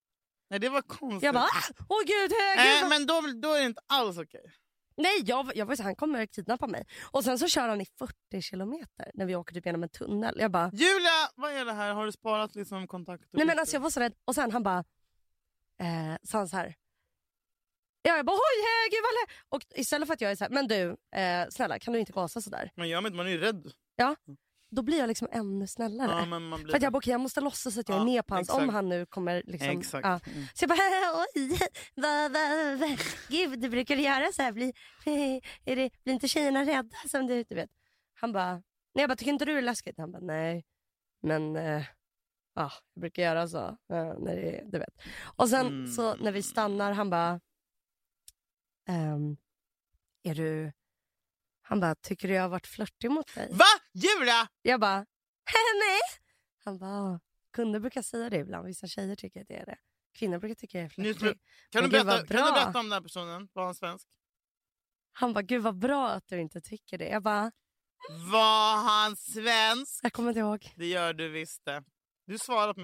[SPEAKER 1] Nej, det var konstigt.
[SPEAKER 2] Jag bara, ah, åh gud, hej, gud.
[SPEAKER 1] Nej,
[SPEAKER 2] vad-"
[SPEAKER 1] Äh, men då, då är det inte alls okej.
[SPEAKER 2] Nej, jag, jag var så här, han kommer att kidnappa mig. Och sen så kör han i 40 kilometer när vi åker typ genom en tunnel. Jag bara,
[SPEAKER 1] Julia, vad är det här? Har du sparat liksom kontakt?
[SPEAKER 2] Nej men alltså jag var så rädd. Och sen han bara, eh, sa han så här. Ja, jag bara oj, hej, gud vad lä-" Och istället för att jag är så här, men du eh, snälla kan du inte gasa så där?
[SPEAKER 1] Man gör man inte, man är ju rädd.
[SPEAKER 2] Då blir jag liksom ännu snällare.
[SPEAKER 1] Ja, men man blir
[SPEAKER 2] för att jag bara okej jag måste låtsas att jag är
[SPEAKER 1] Ja,
[SPEAKER 2] med på hans om
[SPEAKER 1] exakt.
[SPEAKER 2] han nu kommer liksom.
[SPEAKER 1] Exakt.
[SPEAKER 2] Ja.
[SPEAKER 1] Mm.
[SPEAKER 2] Så jag bara oj, va, va, va. gud du brukar göra så här, bli, är det, blir inte tjejerna rädda som du, du vet? Han bara, nej jag bara tycker inte du är läskigt? Han bara nej, men eh, Ja, jag brukar göra så. eh, när det, du vet. Och sen
[SPEAKER 1] Mm.
[SPEAKER 2] så när vi stannar, han bara... ehm, är du... Han bara, tycker du jag har varit flörtig mot dig?
[SPEAKER 1] Va? Julia?
[SPEAKER 2] Jag bara, nej. Han bara, "Ah, kunder brukar säga det ibland. Vissa tjejer tycker att det är det. Kvinnor brukar tycka jag är
[SPEAKER 1] Nu-
[SPEAKER 2] flörtig.
[SPEAKER 1] Kan du,
[SPEAKER 2] Men gud,
[SPEAKER 1] berätta,
[SPEAKER 2] vad
[SPEAKER 1] kan du
[SPEAKER 2] bra.
[SPEAKER 1] berätta om den här personen? Var han svensk?
[SPEAKER 2] Han bara, gud vad bra att du inte tycker det. Jag bara,
[SPEAKER 1] Var han svensk?
[SPEAKER 2] jag kommer inte ihåg.
[SPEAKER 1] Det gör du visst det. Du svarar på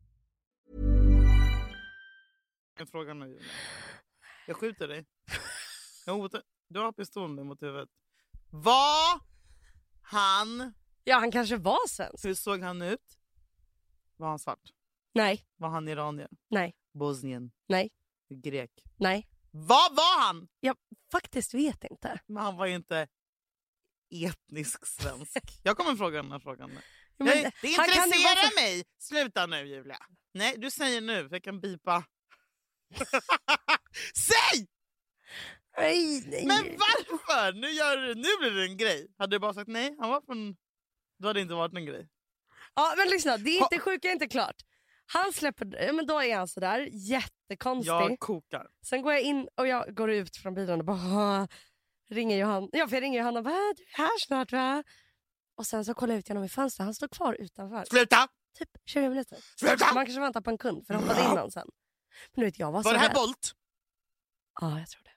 [SPEAKER 1] min fråga nu. Julia. Jag skjuter dig. Jag hotar. Du har pistolen nu mot huvudet. Var han...
[SPEAKER 2] Ja, han kanske var svensk.
[SPEAKER 1] Hur såg han ut? Var han svart?
[SPEAKER 2] Nej,
[SPEAKER 1] Var han iranier?
[SPEAKER 2] nej,
[SPEAKER 1] Bosnien?
[SPEAKER 2] Nej.
[SPEAKER 1] Grek?
[SPEAKER 2] nej.
[SPEAKER 1] Vad var han?
[SPEAKER 2] Jag faktiskt vet inte.
[SPEAKER 1] Men han var ju inte etnisk svensk. Jag kommer fråga den här frågan nu.
[SPEAKER 2] Men
[SPEAKER 1] Nej, det
[SPEAKER 2] han kan ju vara
[SPEAKER 1] intresserar
[SPEAKER 2] för-
[SPEAKER 1] mig! Sluta nu Julia. Nej, du säger nu. Jag kan bipa. Säg!
[SPEAKER 2] Nej, nej.
[SPEAKER 1] Men varför? Nu, gör, du- nu blir det en grej. Hade du bara sagt nej, han var från... Då hade det inte varit en grej.
[SPEAKER 2] Ja, men lyssna, det är
[SPEAKER 1] Ha-
[SPEAKER 2] inte sjuka är inte klart. Han släpper, ja, men då är han sådär jättekonstig.
[SPEAKER 1] Jag kokar.
[SPEAKER 2] Sen går jag in och jag går ut från bilen och bara "Ah." ringer Johan. Ja, för jag ringer Johanna och bara, "Äh, du är här snart va? Och sen så kollar jag ut genom mitt fönster, han står kvar utanför.
[SPEAKER 1] Sluta!
[SPEAKER 2] Typ 20 minuter.
[SPEAKER 1] Sluta!
[SPEAKER 2] Man kanske väntar på en kund för det hoppade in någon sen. Men du vet, jag var så
[SPEAKER 1] Var det här
[SPEAKER 2] rädd.
[SPEAKER 1] Bolt?
[SPEAKER 2] Ja, jag tror det.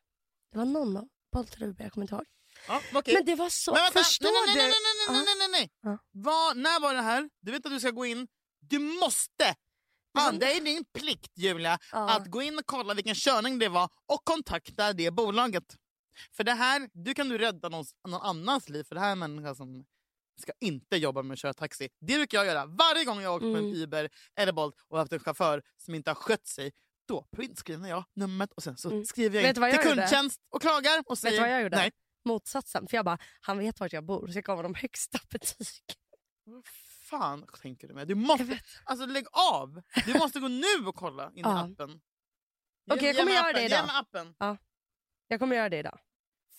[SPEAKER 2] Det var någon av Bolt Ruby, jag kommer inte ihåg.
[SPEAKER 1] Ja, okej.
[SPEAKER 2] Men det var så,
[SPEAKER 1] Men vänta,
[SPEAKER 2] förstår
[SPEAKER 1] nej, nej, nej,
[SPEAKER 2] du?
[SPEAKER 1] nej, nej, nej, nej, nej, nej.
[SPEAKER 2] Ja.
[SPEAKER 1] Vad- när var det här? Du vet att du ska gå in. Du måste!
[SPEAKER 2] var-
[SPEAKER 1] Ja, det är din plikt, Julia,
[SPEAKER 2] Ja.
[SPEAKER 1] att gå in och kolla vilken körning det var och kontakta det bolaget. För det här, du kan du rädda någon, någon annans liv, för det här är en människa som ska inte jobba med att köra taxi. Det brukar jag göra varje gång jag har åkt med en
[SPEAKER 2] Mm.
[SPEAKER 1] Uber eller Bolt och haft en chaufför som inte har skött sig. Då printskriver jag numret och sen så
[SPEAKER 2] Mm.
[SPEAKER 1] skriver
[SPEAKER 2] Vet
[SPEAKER 1] jag
[SPEAKER 2] du vad
[SPEAKER 1] in till
[SPEAKER 2] jag gjorde?
[SPEAKER 1] kundtjänst och klagar och säger
[SPEAKER 2] Vet du vad jag gjorde?
[SPEAKER 1] nej.
[SPEAKER 2] Motsatsen. För jag bara, han vet vart jag bor så jag gav honom högsta betyg.
[SPEAKER 1] Vad fan tänker du med? Du måste, alltså lägg av! Du måste gå nu och kolla in
[SPEAKER 2] Ja.
[SPEAKER 1] i appen. Ge-
[SPEAKER 2] jag
[SPEAKER 1] ge
[SPEAKER 2] kommer
[SPEAKER 1] mig
[SPEAKER 2] göra
[SPEAKER 1] appen,
[SPEAKER 2] det
[SPEAKER 1] Ge
[SPEAKER 2] idag.
[SPEAKER 1] mig appen.
[SPEAKER 2] Jag kommer göra det idag.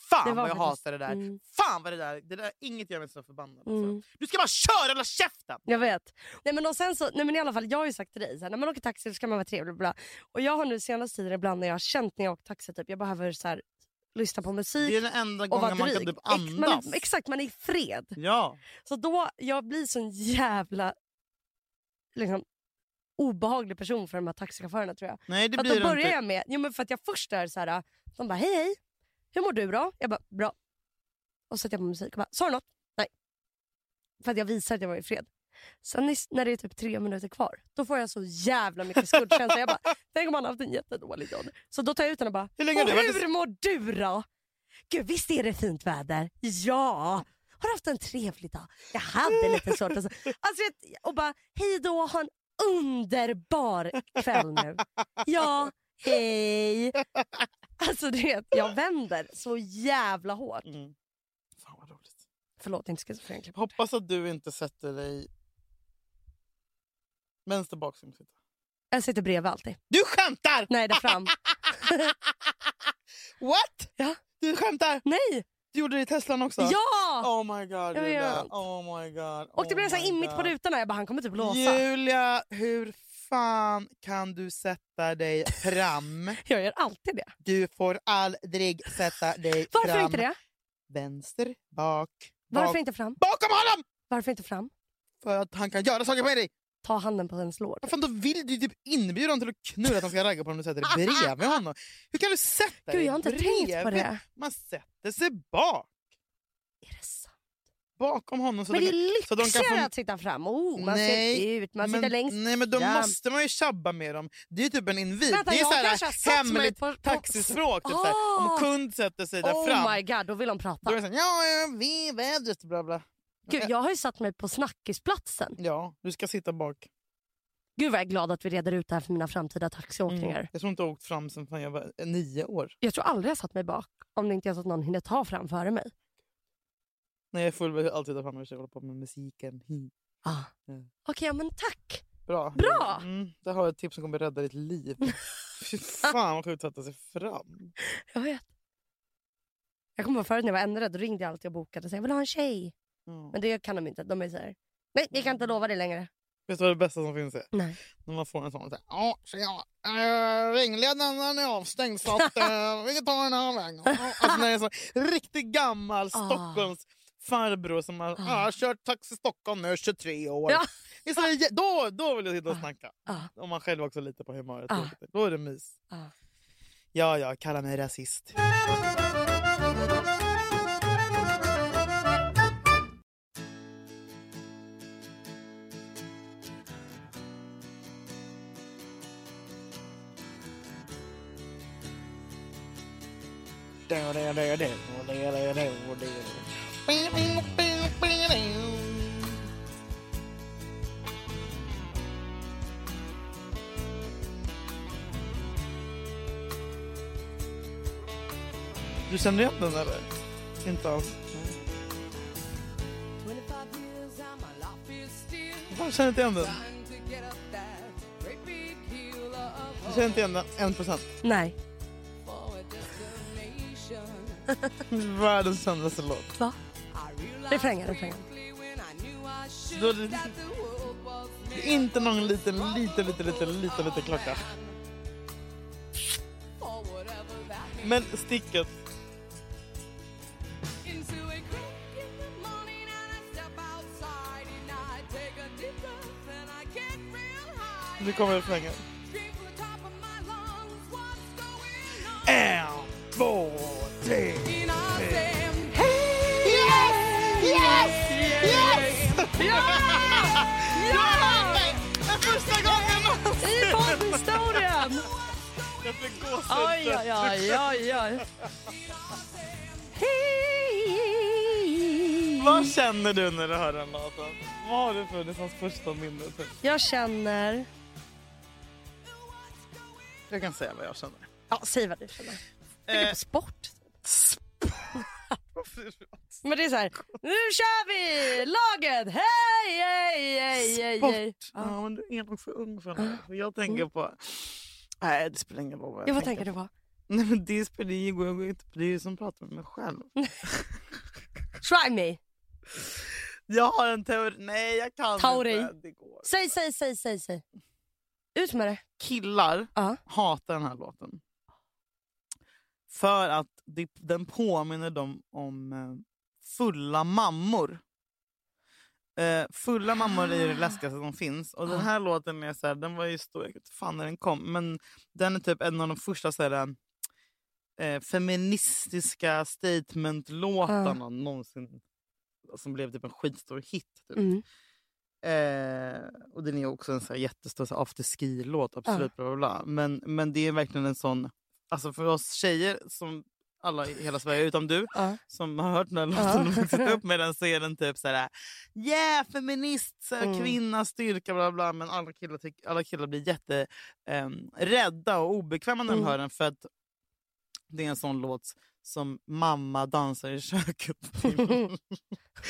[SPEAKER 1] Fan
[SPEAKER 2] Det var
[SPEAKER 1] vad jag
[SPEAKER 2] faktiskt-
[SPEAKER 1] hatar det där.
[SPEAKER 2] Mm.
[SPEAKER 1] Fan vad det där, det där inget gör mig så förbannad.
[SPEAKER 2] Mm.
[SPEAKER 1] Alltså. Du ska bara köra eller käften!
[SPEAKER 2] Jag vet. Nej, men och sen så, nej, men i alla fall, jag har ju sagt till dig, så här, när man åker taxi så ska man vara trevlig. Bla. Och jag har nu senaste tiden ibland när jag har känt när jag åkt taxi, typ, jag behöver så här, lyssna på
[SPEAKER 1] Det är
[SPEAKER 2] musik
[SPEAKER 1] den enda
[SPEAKER 2] och vara
[SPEAKER 1] gången man kan
[SPEAKER 2] dryg.
[SPEAKER 1] typ
[SPEAKER 2] Ex- man
[SPEAKER 1] andas.
[SPEAKER 2] är, exakt, man är i fred.
[SPEAKER 1] Ja.
[SPEAKER 2] Så då, jag blir sån jävla liksom, obehaglig person för de här taxichaufförerna tror jag.
[SPEAKER 1] Nej det
[SPEAKER 2] För att
[SPEAKER 1] blir
[SPEAKER 2] då
[SPEAKER 1] det
[SPEAKER 2] börjar
[SPEAKER 1] inte.
[SPEAKER 2] jag med, jo, men för att jag först är så här, de bara hej hej, hur mår du då? Jag bara bra. Och så sätter jag på musik och bara, sa du något? Nej. För att jag visar att jag var i fred. Sen i- när det är typ tre minuter kvar, då får jag så jävla mycket skuldkänsla. jag bara, tänk om han har haft en jättedålig dag. Så då tar jag ut den och bara,
[SPEAKER 1] Hur länge har
[SPEAKER 2] och
[SPEAKER 1] du varit i-
[SPEAKER 2] hur mår du då? Gud visst är det fint väder? Ja! Har du haft en trevlig dag? Jag hade lite svårt. Alltså, alltså, jag- och bara, hej då, ha en underbar kväll nu. Ja, hej. Alltså du vet, jag vänder så jävla hårt.
[SPEAKER 1] Mm. Fan vad roligt.
[SPEAKER 2] Förlåt, inte schizofren. klipp.
[SPEAKER 1] Hoppas att du inte sätter dig vänster bak. som sitter.
[SPEAKER 2] Jag sitter bredvid alltid.
[SPEAKER 1] Du skämtar!
[SPEAKER 2] Nej, där fram.
[SPEAKER 1] What?
[SPEAKER 2] Ja.
[SPEAKER 1] Du skämtar!
[SPEAKER 2] Nej!
[SPEAKER 1] Du gjorde det i Teslan också?
[SPEAKER 2] Ja!
[SPEAKER 1] Oh my god,
[SPEAKER 2] Jag
[SPEAKER 1] Julia.
[SPEAKER 2] vet.
[SPEAKER 1] Oh my god.
[SPEAKER 2] Och det
[SPEAKER 1] oh
[SPEAKER 2] blev så här
[SPEAKER 1] my
[SPEAKER 2] in mitt på
[SPEAKER 1] god.
[SPEAKER 2] rutorna. Jag bara, han kommer typ blåsa.
[SPEAKER 1] Julia, hur fan kan du sätta dig fram?
[SPEAKER 2] Jag gör alltid det.
[SPEAKER 1] Du får aldrig sätta dig
[SPEAKER 2] Varför
[SPEAKER 1] fram.
[SPEAKER 2] inte det?
[SPEAKER 1] Vänster, bak,
[SPEAKER 2] Varför
[SPEAKER 1] bak.
[SPEAKER 2] inte fram?
[SPEAKER 1] Bakom honom!
[SPEAKER 2] Varför inte fram?
[SPEAKER 1] För att han kan göra saker med dig.
[SPEAKER 2] Ta handen på hennes lår.
[SPEAKER 1] Vad fan, då vill du ju typ inbjuda honom till att knulla att han ska ragga på honom och sätta dig bredvid honom. Hur kan du sätta
[SPEAKER 2] Gud,
[SPEAKER 1] dig
[SPEAKER 2] jag har inte tänkt på
[SPEAKER 1] bredvid?
[SPEAKER 2] det.
[SPEAKER 1] Man sätter sig bak,
[SPEAKER 2] Är det sant?
[SPEAKER 1] bakom honom. Så
[SPEAKER 2] Men
[SPEAKER 1] de
[SPEAKER 2] det är
[SPEAKER 1] kan- så de kan få-
[SPEAKER 2] lyxigare att sitta fram. Oh, man
[SPEAKER 1] Nej,
[SPEAKER 2] ser ut, man
[SPEAKER 1] men,
[SPEAKER 2] sitter längst
[SPEAKER 1] Nej men då
[SPEAKER 2] fram.
[SPEAKER 1] måste man ju tjabba med dem. Det är ju typ en invit.
[SPEAKER 2] Vänta,
[SPEAKER 1] det är
[SPEAKER 2] jag
[SPEAKER 1] så här
[SPEAKER 2] kanske har satt mig
[SPEAKER 1] hemligt
[SPEAKER 2] på- på-
[SPEAKER 1] taxispråk. Typ, så här. Om
[SPEAKER 2] Ah.
[SPEAKER 1] kund sätter sig där
[SPEAKER 2] oh
[SPEAKER 1] fram,
[SPEAKER 2] my god, då vill de prata.
[SPEAKER 1] då är det såhär ja, ja, vi vädret bla bla.
[SPEAKER 2] Gud, jag har ju satt mig på snackisplatsen.
[SPEAKER 1] Ja, du ska sitta bak.
[SPEAKER 2] Gud vad jag är glad att vi reder ut det här för mina framtida taxiåkningar.
[SPEAKER 1] Mm. Jag tror inte jag har åkt fram sen fan jag var eh, nio år.
[SPEAKER 2] Jag tror aldrig jag satt mig bak om det inte är så att någon hinner ta fram före mig.
[SPEAKER 1] När jag är full vill jag alltid ta fram mig och hålla på med musiken. Hmm.
[SPEAKER 2] Ah.
[SPEAKER 1] Ja.
[SPEAKER 2] Okej, ja, men tack.
[SPEAKER 1] Bra.
[SPEAKER 2] Bra!
[SPEAKER 1] Mm, där har jag ett tips som kommer rädda ditt liv. Fy fan vad sjukt att ta sig fram.
[SPEAKER 2] Jag vet. Jag kommer ihåg förut när jag var ännu rädd, då ringde jag alltid och bokade och sa jag vill ha en tjej.
[SPEAKER 1] Ja.
[SPEAKER 2] Men det kan de inte. De är så här, nej vi kan inte lova det längre.
[SPEAKER 1] Vet du vad det bästa som finns är?
[SPEAKER 2] Nej.
[SPEAKER 1] När man får en sån. Så här, ja, tjena. Äh, ringledaren den är avstängd så att, eh, vi kan ta den här vägen. Ja, Alltså, när det är så riktigt gammal
[SPEAKER 2] Ah.
[SPEAKER 1] Stockholms farbror som har ah. kört Taxi Stockholm nu 23 år.
[SPEAKER 2] Ja.
[SPEAKER 1] Det är så här, jä- då, då vill jag sitta och
[SPEAKER 2] Ah.
[SPEAKER 1] snacka.
[SPEAKER 2] Ah.
[SPEAKER 1] Om man själv också litar på humöret.
[SPEAKER 2] Ah.
[SPEAKER 1] Då är det mys.
[SPEAKER 2] Ah.
[SPEAKER 1] Ja, ja, kalla mig rasist. Du känner igen den eller? Inte alls. Jag känner inte igen den. Jag känner inte igen den. En procent.
[SPEAKER 2] Nej.
[SPEAKER 1] Världens kändaste låt.
[SPEAKER 2] Va? Refrängen, refrängen.
[SPEAKER 1] Då är det, det är inte någon liten, liten, liten, liten, liten, liten klocka. Men sticket. Nu kommer refrängen. En, två, tre. Yes! Yes! Yes! Jag har mig! För första gången någonsin!
[SPEAKER 2] I poddhistorien!
[SPEAKER 1] Jag fick gåshud.
[SPEAKER 2] Oj, oj, oj, oj, oj. Hej.
[SPEAKER 1] Vad känner du när du hör den låten? Vad har du för nästan första minne? Typ?
[SPEAKER 2] Jag känner...
[SPEAKER 1] Jag kan säga vad jag känner.
[SPEAKER 2] Ja, säg vad du känner. Eh. Jag tänker på sport. Men det är så här, nu kör vi! Laget! Hej, hej, hej, hej, hej.
[SPEAKER 1] Sport. Ja, men du är nog för ung för det. För Jag tänker på... Nej, det spelar ingen roll vad jag
[SPEAKER 2] Ja, vad tänker du på?
[SPEAKER 1] Nej, men det spelar ingen roll. Jag går- Det är ju som pratar med mig själv.
[SPEAKER 2] Try me.
[SPEAKER 1] Jag har en teori. Nej, jag kan
[SPEAKER 2] Tauri.
[SPEAKER 1] inte. Det går.
[SPEAKER 2] Säg, säg, säg, säg, säg. Ut med det.
[SPEAKER 1] Killar
[SPEAKER 2] Ja.
[SPEAKER 1] hatar den här låten. För att det, den påminner dem om eh, fulla mammor. Eh, fulla mammor är ju det läskigaste som finns. Och den här låten är så här, den var ju stor, jag vet inte fan när den kom. Men den är typ en av de första så här, eh, feministiska statement-låtarna någonsin. Som blev typ en skitstor hit. Typ.
[SPEAKER 2] Mm.
[SPEAKER 1] Eh, och den är också en så här jättestor så här afterski-låt, absolut. Bla, bla, bla. Men, men det är verkligen en sån... Alltså för oss tjejer, som alla i hela Sverige utom du,
[SPEAKER 2] Ja.
[SPEAKER 1] som har hört den här
[SPEAKER 2] Ja.
[SPEAKER 1] låten och vuxit upp med den, så är den typ så här... Yeah, feminist, så här,
[SPEAKER 2] Mm.
[SPEAKER 1] kvinna, styrka, bla bla. Men alla killar, tyck, alla killar blir jätte ehm, rädda och obekväma när de
[SPEAKER 2] Mm.
[SPEAKER 1] hör den. För att det är en sån låt som mamma dansar i köket.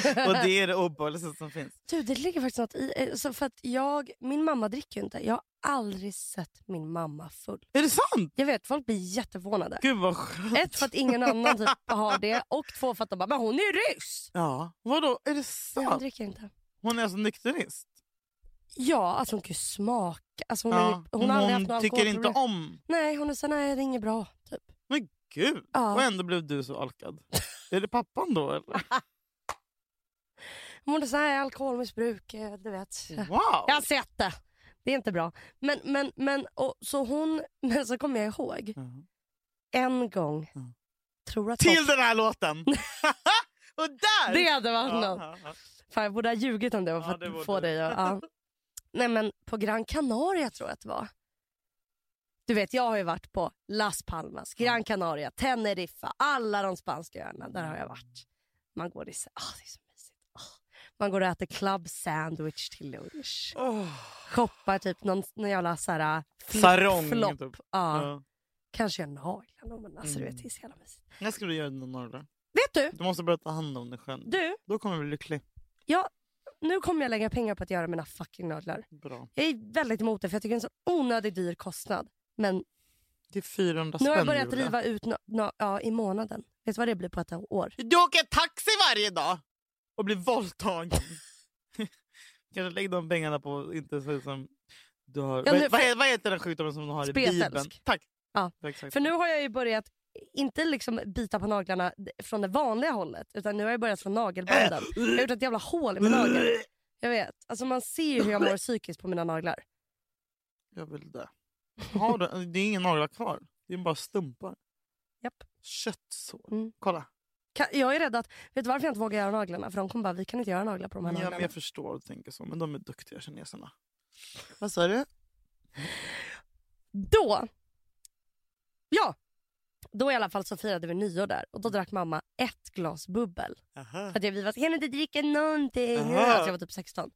[SPEAKER 1] och det är det obehagligaste som finns.
[SPEAKER 2] Du, det ligger faktiskt något i. eh, Så för att jag, min mamma dricker ju inte. Jag har aldrig sett min mamma full.
[SPEAKER 1] Är det sant?
[SPEAKER 2] Jag vet, folk blir jätteförvånade.
[SPEAKER 1] Gud vad skönt.
[SPEAKER 2] Ett, för att ingen annan typ har det. Och två, för att de bara, men hon är ju ryss!
[SPEAKER 1] Ja. Vadå, är det
[SPEAKER 2] Jag
[SPEAKER 1] sant?
[SPEAKER 2] dricker inte.
[SPEAKER 1] Hon är alltså nykterist?
[SPEAKER 2] Ja, alltså hon kan ju smaka. Alltså hon, är,
[SPEAKER 1] Ja.
[SPEAKER 2] ju- hon har aldrig haft något
[SPEAKER 1] tycker inte
[SPEAKER 2] alkoholproblem.
[SPEAKER 1] om...
[SPEAKER 2] Nej, hon är så nej det är inget bra. Typ.
[SPEAKER 1] Men gud!
[SPEAKER 2] Ja.
[SPEAKER 1] Och ändå blev du så alkad. är det pappan då eller?
[SPEAKER 2] Hon är så här alkoholmissbruk, eh, du vet.
[SPEAKER 1] Wow!
[SPEAKER 2] Jag har sett det. Det är inte bra. Men, men, men, och, så hon, men så kommer jag ihåg
[SPEAKER 1] Mhm.
[SPEAKER 2] en gång,
[SPEAKER 1] Mm.
[SPEAKER 2] tror att
[SPEAKER 1] Till den här låten! och där!
[SPEAKER 2] det hade varit
[SPEAKER 1] Ja,
[SPEAKER 2] något.
[SPEAKER 1] ja, ja.
[SPEAKER 2] Fan, jag borde ha ljugit om det var för
[SPEAKER 1] Ja,
[SPEAKER 2] att
[SPEAKER 1] det borde
[SPEAKER 2] få
[SPEAKER 1] du.
[SPEAKER 2] dig att... Ja. Nej, men på Gran Canaria tror jag att det var. Du vet, jag har ju varit på Las Palmas, Gran Canaria,
[SPEAKER 1] Mm.
[SPEAKER 2] Teneriffa, alla de spanska öarna. Där har jag varit. Man går i... Ah, det är så mysigt. Ah. Man går och äter club sandwich till lunch.
[SPEAKER 1] Oh.
[SPEAKER 2] Shoppar typ någon, någon jävla så här,
[SPEAKER 1] Sarong,
[SPEAKER 2] flip-flop.
[SPEAKER 1] typ.
[SPEAKER 2] Ja.
[SPEAKER 1] Ja.
[SPEAKER 2] Kanske gör naglarna. Men alltså, du
[SPEAKER 1] Mm.
[SPEAKER 2] vet, det är så jävla mysigt.
[SPEAKER 1] När ska du göra dina naglar?
[SPEAKER 2] Vet du?
[SPEAKER 1] Du måste börja ta hand om dig själv.
[SPEAKER 2] Du,
[SPEAKER 1] Då kommer du bli lycklig.
[SPEAKER 2] nu kommer jag lägga pengar på att göra mina fucking naglar.
[SPEAKER 1] Bra.
[SPEAKER 2] Jag är väldigt emot det för jag tycker det är en så onödigt dyr kostnad. Men
[SPEAKER 1] Det är 400
[SPEAKER 2] nu har jag
[SPEAKER 1] spänn,
[SPEAKER 2] börjat
[SPEAKER 1] Julia.
[SPEAKER 2] riva ut na- na- ja, i månaden. Vet du vad det blir på ett år?
[SPEAKER 1] Du åker taxi varje dag och blir våldtagen. Kanske lägg de pengarna på att inte se ut som du har...
[SPEAKER 2] Ja,
[SPEAKER 1] vad,
[SPEAKER 2] nu-
[SPEAKER 1] vad, heter, vad heter den sjukdomen som du har i
[SPEAKER 2] Spetälsk.
[SPEAKER 1] Bibeln? Tack.
[SPEAKER 2] Ja,
[SPEAKER 1] Exakt.
[SPEAKER 2] För nu har jag ju börjat, inte liksom bita på naglarna från det vanliga hållet, utan nu har jag börjat från
[SPEAKER 1] Äh.
[SPEAKER 2] nagelbanden. Jag har gjort ett jävla hål i min nagel. Jag vet. Alltså man ser ju hur jag mår psykiskt på mina naglar.
[SPEAKER 1] Jag vill dö. Har du, det är ingen naglar kvar. Det är bara stumpar.
[SPEAKER 2] Japp.
[SPEAKER 1] Köttsår.
[SPEAKER 2] Mm.
[SPEAKER 1] Kolla.
[SPEAKER 2] Ka- Jag är rädd att, vet du varför jag inte vågar göra naglarna? För de kommer bara, vi kan inte göra naglar på de här
[SPEAKER 1] Ja, men
[SPEAKER 2] naglarna.
[SPEAKER 1] jag förstår och tänker så, men de är duktiga kineserna. Vad sa du?
[SPEAKER 2] Då, ja, då i alla fall så firade vi nyår där och då drack mamma ett glas bubbel.
[SPEAKER 1] Aha.
[SPEAKER 2] För att jag, vi var så, kan du inte dricka någonting?
[SPEAKER 1] Aha.
[SPEAKER 2] Alltså jag var typ 16.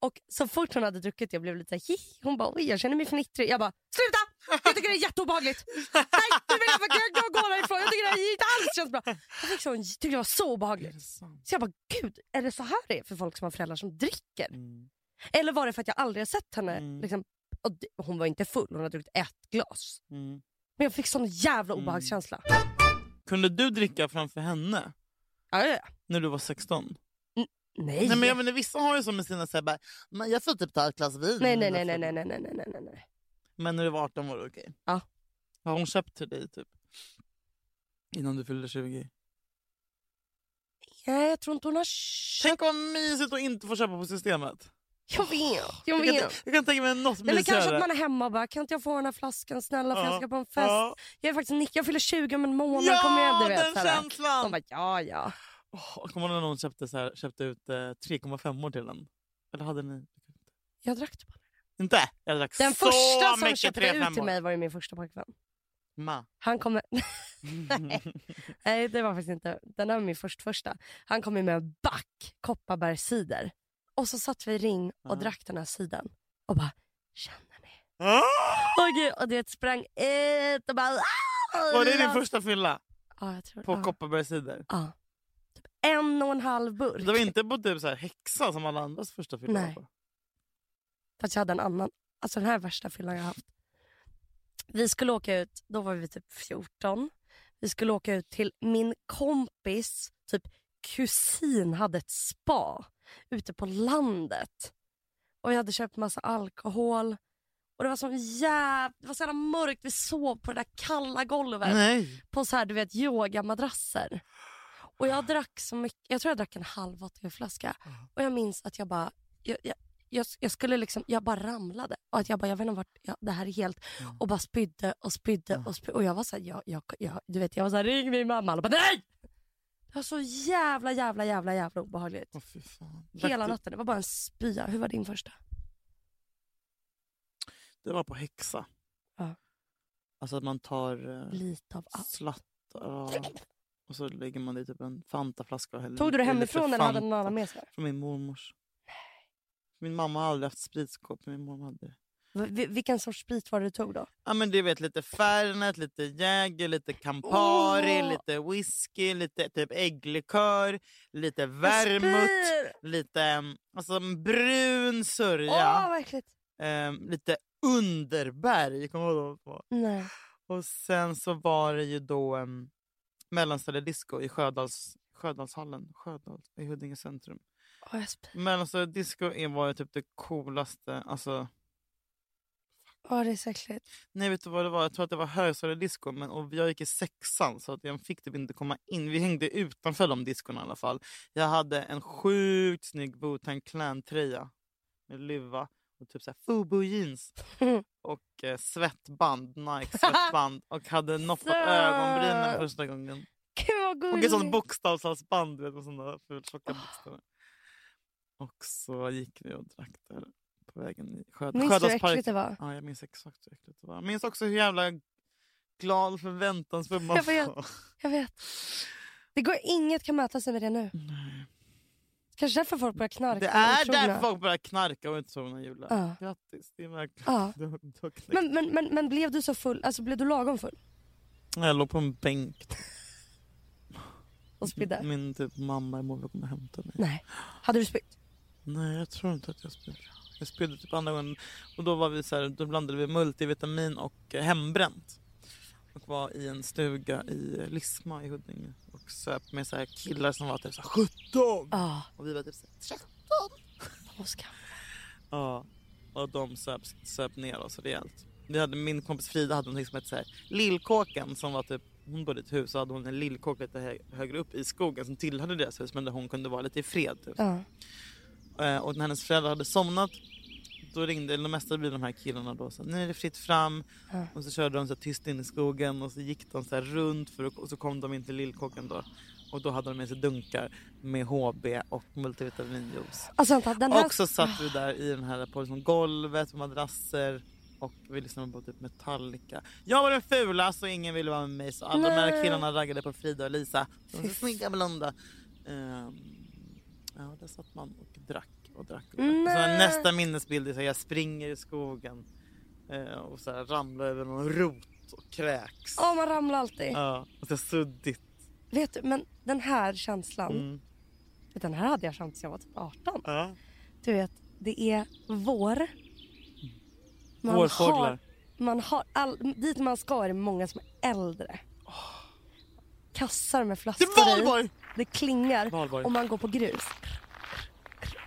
[SPEAKER 2] Och så fort hon hade druckit jag blev lite hi. Hon bara oj jag känner mig fnittrig. Jag bara sluta! Jag tycker det är jätteobehagligt. Nej du vet jag, jag, jag går härifrån. Jag tycker det här inte alls känns bra. Jag fick sån- tyckte det var så
[SPEAKER 1] Är
[SPEAKER 2] obehagligt.
[SPEAKER 1] det sant?
[SPEAKER 2] Så jag bara gud är det så här det är för folk som har föräldrar som dricker?
[SPEAKER 1] Mm.
[SPEAKER 2] Eller var det för att jag aldrig har sett henne?
[SPEAKER 1] Mm.
[SPEAKER 2] Liksom, och det, hon var inte full, hon hade druckit ett glas.
[SPEAKER 1] Mm.
[SPEAKER 2] Men jag fick sån jävla
[SPEAKER 1] Mm.
[SPEAKER 2] obehagskänsla.
[SPEAKER 1] Kunde du dricka framför henne
[SPEAKER 2] Ja, ja, ja.
[SPEAKER 1] när du var 16?
[SPEAKER 2] Nej.
[SPEAKER 1] Nej, men jag menar, vissa har ju som med sina så här, bara, "Men jag får typ ta ett glas vin.
[SPEAKER 2] nej, nej, nej, nej, nej, nej, nej, nej, nej, nej.
[SPEAKER 1] Men när du var 18 var det okej?
[SPEAKER 2] Ja.
[SPEAKER 1] Har hon köpt till dig typ? Innan du fyllde 20?
[SPEAKER 2] Nej, jag tror inte hon har köpt.
[SPEAKER 1] Tänk vad mysigt att inte få köpa på systemet.
[SPEAKER 2] Jag vet,
[SPEAKER 1] Jag
[SPEAKER 2] jag
[SPEAKER 1] kan,
[SPEAKER 2] vet.
[SPEAKER 1] jag kan tänka mig något
[SPEAKER 2] Eller kanske
[SPEAKER 1] mysigare.
[SPEAKER 2] att man är hemma och bara, kan inte jag få den här flaskan snälla för
[SPEAKER 1] Ja,
[SPEAKER 2] jag ska på en fest.
[SPEAKER 1] Ja,
[SPEAKER 2] Jag är faktiskt nick, jag fyller 20 om en månad,
[SPEAKER 1] ja
[SPEAKER 2] kom igen du vet.
[SPEAKER 1] den
[SPEAKER 2] så här.
[SPEAKER 1] känslan!
[SPEAKER 2] De bara, ja ja.
[SPEAKER 1] Åh, Kommer du ihåg när någon köpte, så här, köpte ut eh, 3,5 år till den? Eller hade ni?
[SPEAKER 2] Jag drack det bara.
[SPEAKER 1] Inte? Jag drack
[SPEAKER 2] Den
[SPEAKER 1] så
[SPEAKER 2] första som
[SPEAKER 1] mycket
[SPEAKER 2] köpte
[SPEAKER 1] 3,5
[SPEAKER 2] ut till
[SPEAKER 1] år.
[SPEAKER 2] mig var ju min första pojkvän.
[SPEAKER 1] Ma.
[SPEAKER 2] Han kommer, nej det var faktiskt inte, den här var min först första. Han kom ju med en back Kopparbergscider. Och så satt vi i ring och
[SPEAKER 1] Ja.
[SPEAKER 2] drack den här cidern. Och bara, känner ni?
[SPEAKER 1] Ah!
[SPEAKER 2] Åh gud, och det sprang ut och bara... Ah!
[SPEAKER 1] Var det din första fylla?
[SPEAKER 2] Ja, jag tror
[SPEAKER 1] På
[SPEAKER 2] ja.
[SPEAKER 1] Kopparbergssidor?
[SPEAKER 2] Ja. Typ en och en halv burk.
[SPEAKER 1] Det var inte på typ så här häxa som alla andras första fylla
[SPEAKER 2] Nej.
[SPEAKER 1] var på?
[SPEAKER 2] Fast jag hade en annan. Alltså den här värsta fyllan jag haft. Vi skulle åka ut, då var vi typ 14. Vi skulle åka ut till min kompis, typ kusin hade ett spa ute på landet. Och vi hade köpt massa alkohol. Och det var så jävla, det var så jävla mörkt. Vi sov på det där kalla golvet.
[SPEAKER 1] Nej.
[SPEAKER 2] på så här, du vet, yogamadrasser. Och jag drack så mycket, jag tror jag drack en halv flaska. Och jag minns att jag bara, jag, jag, jag, jag skulle liksom, jag bara ramlade. Och att jag bara, jag vet inte vart, jag, det här är helt, och bara spydde och spydde och spydde. Och jag var så här, jag, jag, jag, du vet, jag var så här, ring min mamma. Alla bara, nej! Det var så jävla, jävla, jävla, jävla obehagligt.
[SPEAKER 1] Åh, fy fan. Drack
[SPEAKER 2] Hela
[SPEAKER 1] Mm. du-
[SPEAKER 2] natten, det var bara en spya. Hur var din första?
[SPEAKER 1] Det var på häxa.
[SPEAKER 2] Ja.
[SPEAKER 1] Alltså att man tar eh,
[SPEAKER 2] Lite av allt.
[SPEAKER 1] slattar och- och så lägger man det i typ en Fantaflaska. och häller
[SPEAKER 2] Tog du
[SPEAKER 1] i
[SPEAKER 2] det
[SPEAKER 1] lite
[SPEAKER 2] hemifrån eller hade
[SPEAKER 1] Fanta.
[SPEAKER 2] någon annan med sig?
[SPEAKER 1] Från min mormors. Min mamma har aldrig haft spritskåp, men min mormor hade det.
[SPEAKER 2] V- vilken sorts sprit var det du tog då?
[SPEAKER 1] Ja, men du vet lite Fernet, lite Jäger, lite Campari,
[SPEAKER 2] Åh!
[SPEAKER 1] lite whisky, lite typ ägglikör, lite vermouth,
[SPEAKER 2] Spyr!
[SPEAKER 1] lite mm, alltså, en brun
[SPEAKER 2] Åh,
[SPEAKER 1] sörja,
[SPEAKER 2] vad äckligt.
[SPEAKER 1] ehm, lite underberg. Kommer du ihåg vad det var?
[SPEAKER 2] Nej.
[SPEAKER 1] Och sen så var det ju då um, mellanstadiedisco i Sjödals, Sjödalshallen Sjödal, i Huddinge centrum.
[SPEAKER 2] Åh, jag spyr.
[SPEAKER 1] Mellanstadiedisco är- var ju typ det coolaste. Alltså,
[SPEAKER 2] Åh, det är så äckligt.
[SPEAKER 1] nej vet du vad det var? Jag tror att det var högstadiedisco men och jag gick i sexan så att jag fick typ inte komma in. Vi hängde utanför de diskorna i alla fall. Jag hade en sjukt snygg Wu-Tang Clan-tröja med luva och typ så här Fubu jeans och eh, svettband, Nike svettband och hade noppat
[SPEAKER 2] Söt.
[SPEAKER 1] ögonbrynen första gången.
[SPEAKER 2] Gud vad
[SPEAKER 1] Och ett sånt
[SPEAKER 2] gulligt.
[SPEAKER 1] bokstavshalsband du vet, med såna fult tjocka bokstäver. Och så gick vi och drack där på vägen i Sjöd-
[SPEAKER 2] Minns du hur
[SPEAKER 1] Sjödalsparken.
[SPEAKER 2] äckligt det var?
[SPEAKER 1] Ja, jag minns exakt hur äckligt det var. Jag minns också hur jävla glad och förväntansfull man
[SPEAKER 2] Jag vet.
[SPEAKER 1] var.
[SPEAKER 2] Jag vet. Det går, inget kan mäta sig med det nu.
[SPEAKER 1] Nej.
[SPEAKER 2] Kanske därför folk börjar knarka.
[SPEAKER 1] Det
[SPEAKER 2] och
[SPEAKER 1] är
[SPEAKER 2] otrogna.
[SPEAKER 1] därför folk börjar knarka och är otrogna Julia.
[SPEAKER 2] Ja.
[SPEAKER 1] Grattis, det är verkligen...
[SPEAKER 2] Ja.
[SPEAKER 1] Du, har- du har knäckt.
[SPEAKER 2] Men, men, men, men blev du så full? Alltså blev du lagom full?
[SPEAKER 1] Jag låg på en bänk.
[SPEAKER 2] Och spydde?
[SPEAKER 1] Min typ, mamma imorgon kommer hämta mig.
[SPEAKER 2] Nej. Hade du spytt?
[SPEAKER 1] Nej, jag tror inte att jag spydde. Jag spydde typ andra gången. Och då, var vi så här, då blandade vi multivitamin och eh, hembränt. Och var i en stuga i eh, Lisma i Huddinge. Och söp med så här killar som var typ så här 17!
[SPEAKER 2] Ja.
[SPEAKER 1] Och vi var typ så här 13.
[SPEAKER 2] Oskar.
[SPEAKER 1] Ja. Och de söp, söp ner oss rejält. Vi hade, min kompis Frida hade någonting som hette så här, Lillkåken som var typ hon bodde i ett hus och hade hon en lillkåk lite hö- högre upp i skogen som tillhörde deras hus men där hon kunde vara lite i fred. Typ.
[SPEAKER 2] Ja.
[SPEAKER 1] Eh, och när hennes föräldrar hade somnat då ringde, eller mest blir de här killarna då så här, nu är det fritt fram
[SPEAKER 2] Ja.
[SPEAKER 1] och så körde de så här, tyst in i skogen och så gick de så här runt för att, och så kom de in till lillkåken då och då hade de med sig dunkar med HB och multivitaminjuice.
[SPEAKER 2] Alltså vänta, den här... Ah.
[SPEAKER 1] Och så satt vi där i den här på liksom golvet på madrasser och vi lyssnade på typ Metallica. Jag var den fula så ingen ville vara med mig så alla de
[SPEAKER 2] Nej.
[SPEAKER 1] här killarna raggade på Frida och Lisa. De var
[SPEAKER 2] Fy
[SPEAKER 1] så snygga blonda. Ehm, ja, där satt man och drack och drack. Och drack.
[SPEAKER 2] Nej.
[SPEAKER 1] Och så var nästa minnesbild är så här, jag springer i skogen eh, och så här, ramlar över någon rot och kräks.
[SPEAKER 2] Ja, man ramlar alltid.
[SPEAKER 1] Ja, och så suddigt.
[SPEAKER 2] Vet du, men den här känslan.
[SPEAKER 1] Mm.
[SPEAKER 2] Den här hade jag känt sedan jag var typ 18.
[SPEAKER 1] Ja.
[SPEAKER 2] Du vet, det är vår. Man
[SPEAKER 1] Vårfåglar.
[SPEAKER 2] Har, man har all, dit man ska är det många som är äldre. Kassar med
[SPEAKER 1] Det
[SPEAKER 2] flaskor
[SPEAKER 1] är
[SPEAKER 2] i.
[SPEAKER 1] valborg!
[SPEAKER 2] Det klingar
[SPEAKER 1] Valborg.
[SPEAKER 2] och man går på grus.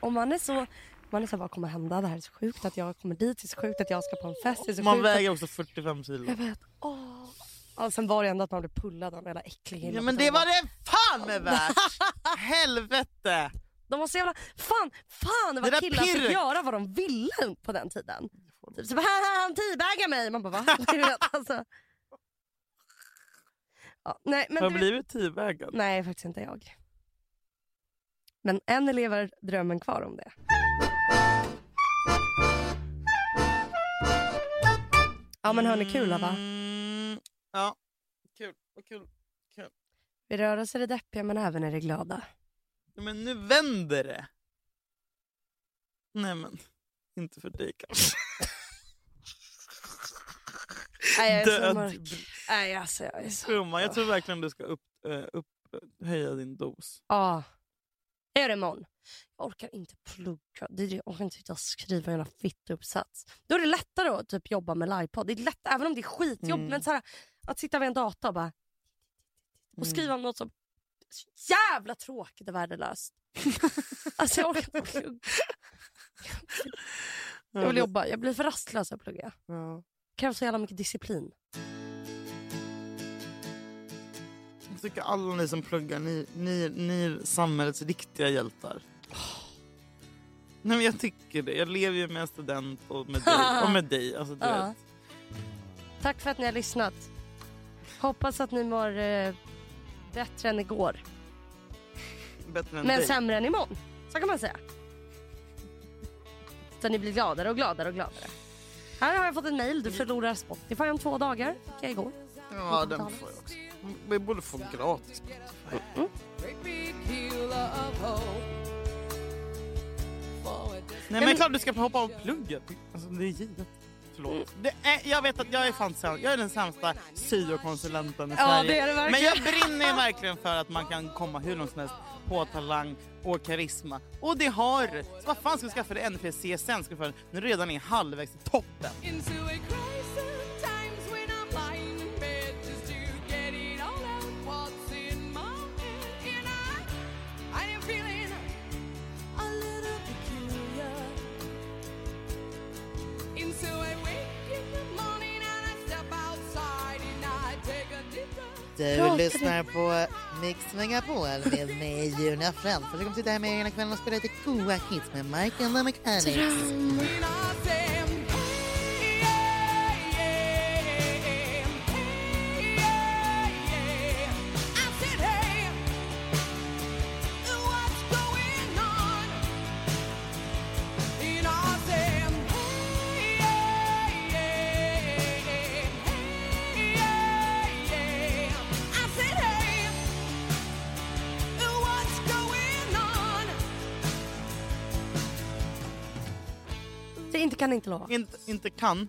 [SPEAKER 2] Och man är så... Man är så här, vad kommer hända? Det här är så sjukt att jag kommer dit. Det är så sjukt att jag ska på en fest. Det är så
[SPEAKER 1] Man
[SPEAKER 2] sjukt
[SPEAKER 1] väger också 45 kilo.
[SPEAKER 2] Att, jag vet. Åh. Ja, sen var det ändå att man blev pullad av en jävla äcklig kille
[SPEAKER 1] Ja,
[SPEAKER 2] på
[SPEAKER 1] men det
[SPEAKER 2] tunnelbanan.
[SPEAKER 1] var det fan med värt! Helvete!
[SPEAKER 2] De var så jävla... Fan, fan
[SPEAKER 1] Det
[SPEAKER 2] vad
[SPEAKER 1] där
[SPEAKER 2] killar
[SPEAKER 1] pirret.
[SPEAKER 2] fick göra vad de ville på den tiden. Typ så bara, "Haha, han teabaggar mig. Man bara va? Du vet, alltså. ja, nej, men
[SPEAKER 1] Har
[SPEAKER 2] du
[SPEAKER 1] du
[SPEAKER 2] vet-
[SPEAKER 1] blivit tiovägad?
[SPEAKER 2] Nej, faktiskt inte jag. Men än lever drömmen kvar om det. Ja men hörni, kul va?
[SPEAKER 1] Mm, ja, kul. Vad kul. kul.
[SPEAKER 2] Vi rör oss i det deppiga men även i det glada.
[SPEAKER 1] Ja, Men nu vänder det! Nej men, inte för dig kanske.
[SPEAKER 2] Nej jag är så
[SPEAKER 1] Död.
[SPEAKER 2] mörk. Nej alltså jag är så...
[SPEAKER 1] Trumma, jag tror verkligen du ska upp, eh, upp, höja din dos.
[SPEAKER 2] Ja. Jag gör det imorgon. Jag orkar inte plugga. Det är det, jag orkar inte sitta och skriva en jävla fittuppsats. Då är det lättare att typ, jobba med livepodd. Det är lätt, även om det är skitjobb.
[SPEAKER 1] Mm.
[SPEAKER 2] Men så här, att sitta vid en dator och, bara, och skriva om något som är så jävla tråkigt och värdelöst. alltså jag orkar inte plugga. Jag vill jobba. Jag blir för rastlös att plugga.
[SPEAKER 1] Ja.
[SPEAKER 2] krävs så jävla mycket disciplin.
[SPEAKER 1] Jag tycker alla ni som pluggar, ni, ni, ni är samhällets riktiga hjältar. Nej men jag tycker det. Jag lever ju med en student och med dig. Och med dig. Alltså, du
[SPEAKER 2] Ja.
[SPEAKER 1] vet.
[SPEAKER 2] Tack för att ni har lyssnat. Hoppas att ni mår eh, bättre än igår.
[SPEAKER 1] Bättre än
[SPEAKER 2] Men
[SPEAKER 1] dig.
[SPEAKER 2] sämre än imorgon. Så kan man säga. Så ni blir gladare och gladare och gladare. Här har jag fått en mail. Du förlorar Spotify om två dagar. Fick jag igår.
[SPEAKER 1] ja, den får jag också. Vi borde få gratis.
[SPEAKER 4] Great big healer of hope. Forward this
[SPEAKER 1] Nej men klart du ska hoppa av plugget. Alltså det är givet.
[SPEAKER 2] Mm.
[SPEAKER 1] Förlåt. Det är, jag vet att jag är fan sämst. Jag är den sämsta syokonsulenten i
[SPEAKER 2] Ja,
[SPEAKER 1] Sverige.
[SPEAKER 2] det är det verkligen.
[SPEAKER 1] Men jag brinner ju verkligen för att man kan komma hur långt som helst på talang och karisma. Och det har du. Så vad fan ska du skaffa dig ännu fler CSN? Ska du för när du redan är halvvägs till toppen.
[SPEAKER 4] into a crisis. Times when I'm lying in bed just to get it all out. What's in my head? And I, I am feeling a little peculiar. And so I wake in the morning and I step outside and I take a deep breath.
[SPEAKER 2] Pratar
[SPEAKER 5] Du
[SPEAKER 2] du?
[SPEAKER 5] lyssnar på Mix Megapol med mig, Julia Frans. Jag kommer sitta här med er hela kvällen och spela lite goa hits med Mike and the Mechanics.
[SPEAKER 4] When I say, hey, yeah, yeah, hey, yeah, yeah. I said, hey, what's going on? And I say, hey, yeah, yeah, hey, yeah, yeah. I said, hey, what's going on?
[SPEAKER 2] kan inte lova.
[SPEAKER 1] Inte, inte kan.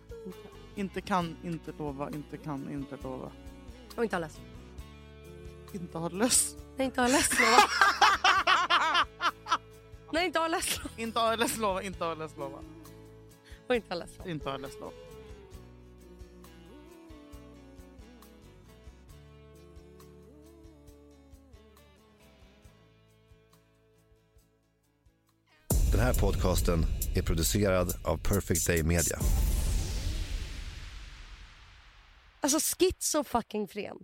[SPEAKER 1] Inte kan, inte lova, inte kan, inte lova.
[SPEAKER 2] Och inte har läst.
[SPEAKER 1] Inte har löst.
[SPEAKER 2] Nej, inte har läst lova. Nej, inte har läst lova.
[SPEAKER 1] Inte har löst lova, inte har löst lova.
[SPEAKER 2] Och inte har läst lova.
[SPEAKER 1] Inte har löst lova.
[SPEAKER 6] Den här podcasten är producerad av Perfect Day Media.
[SPEAKER 2] Alltså schizo fucking fren.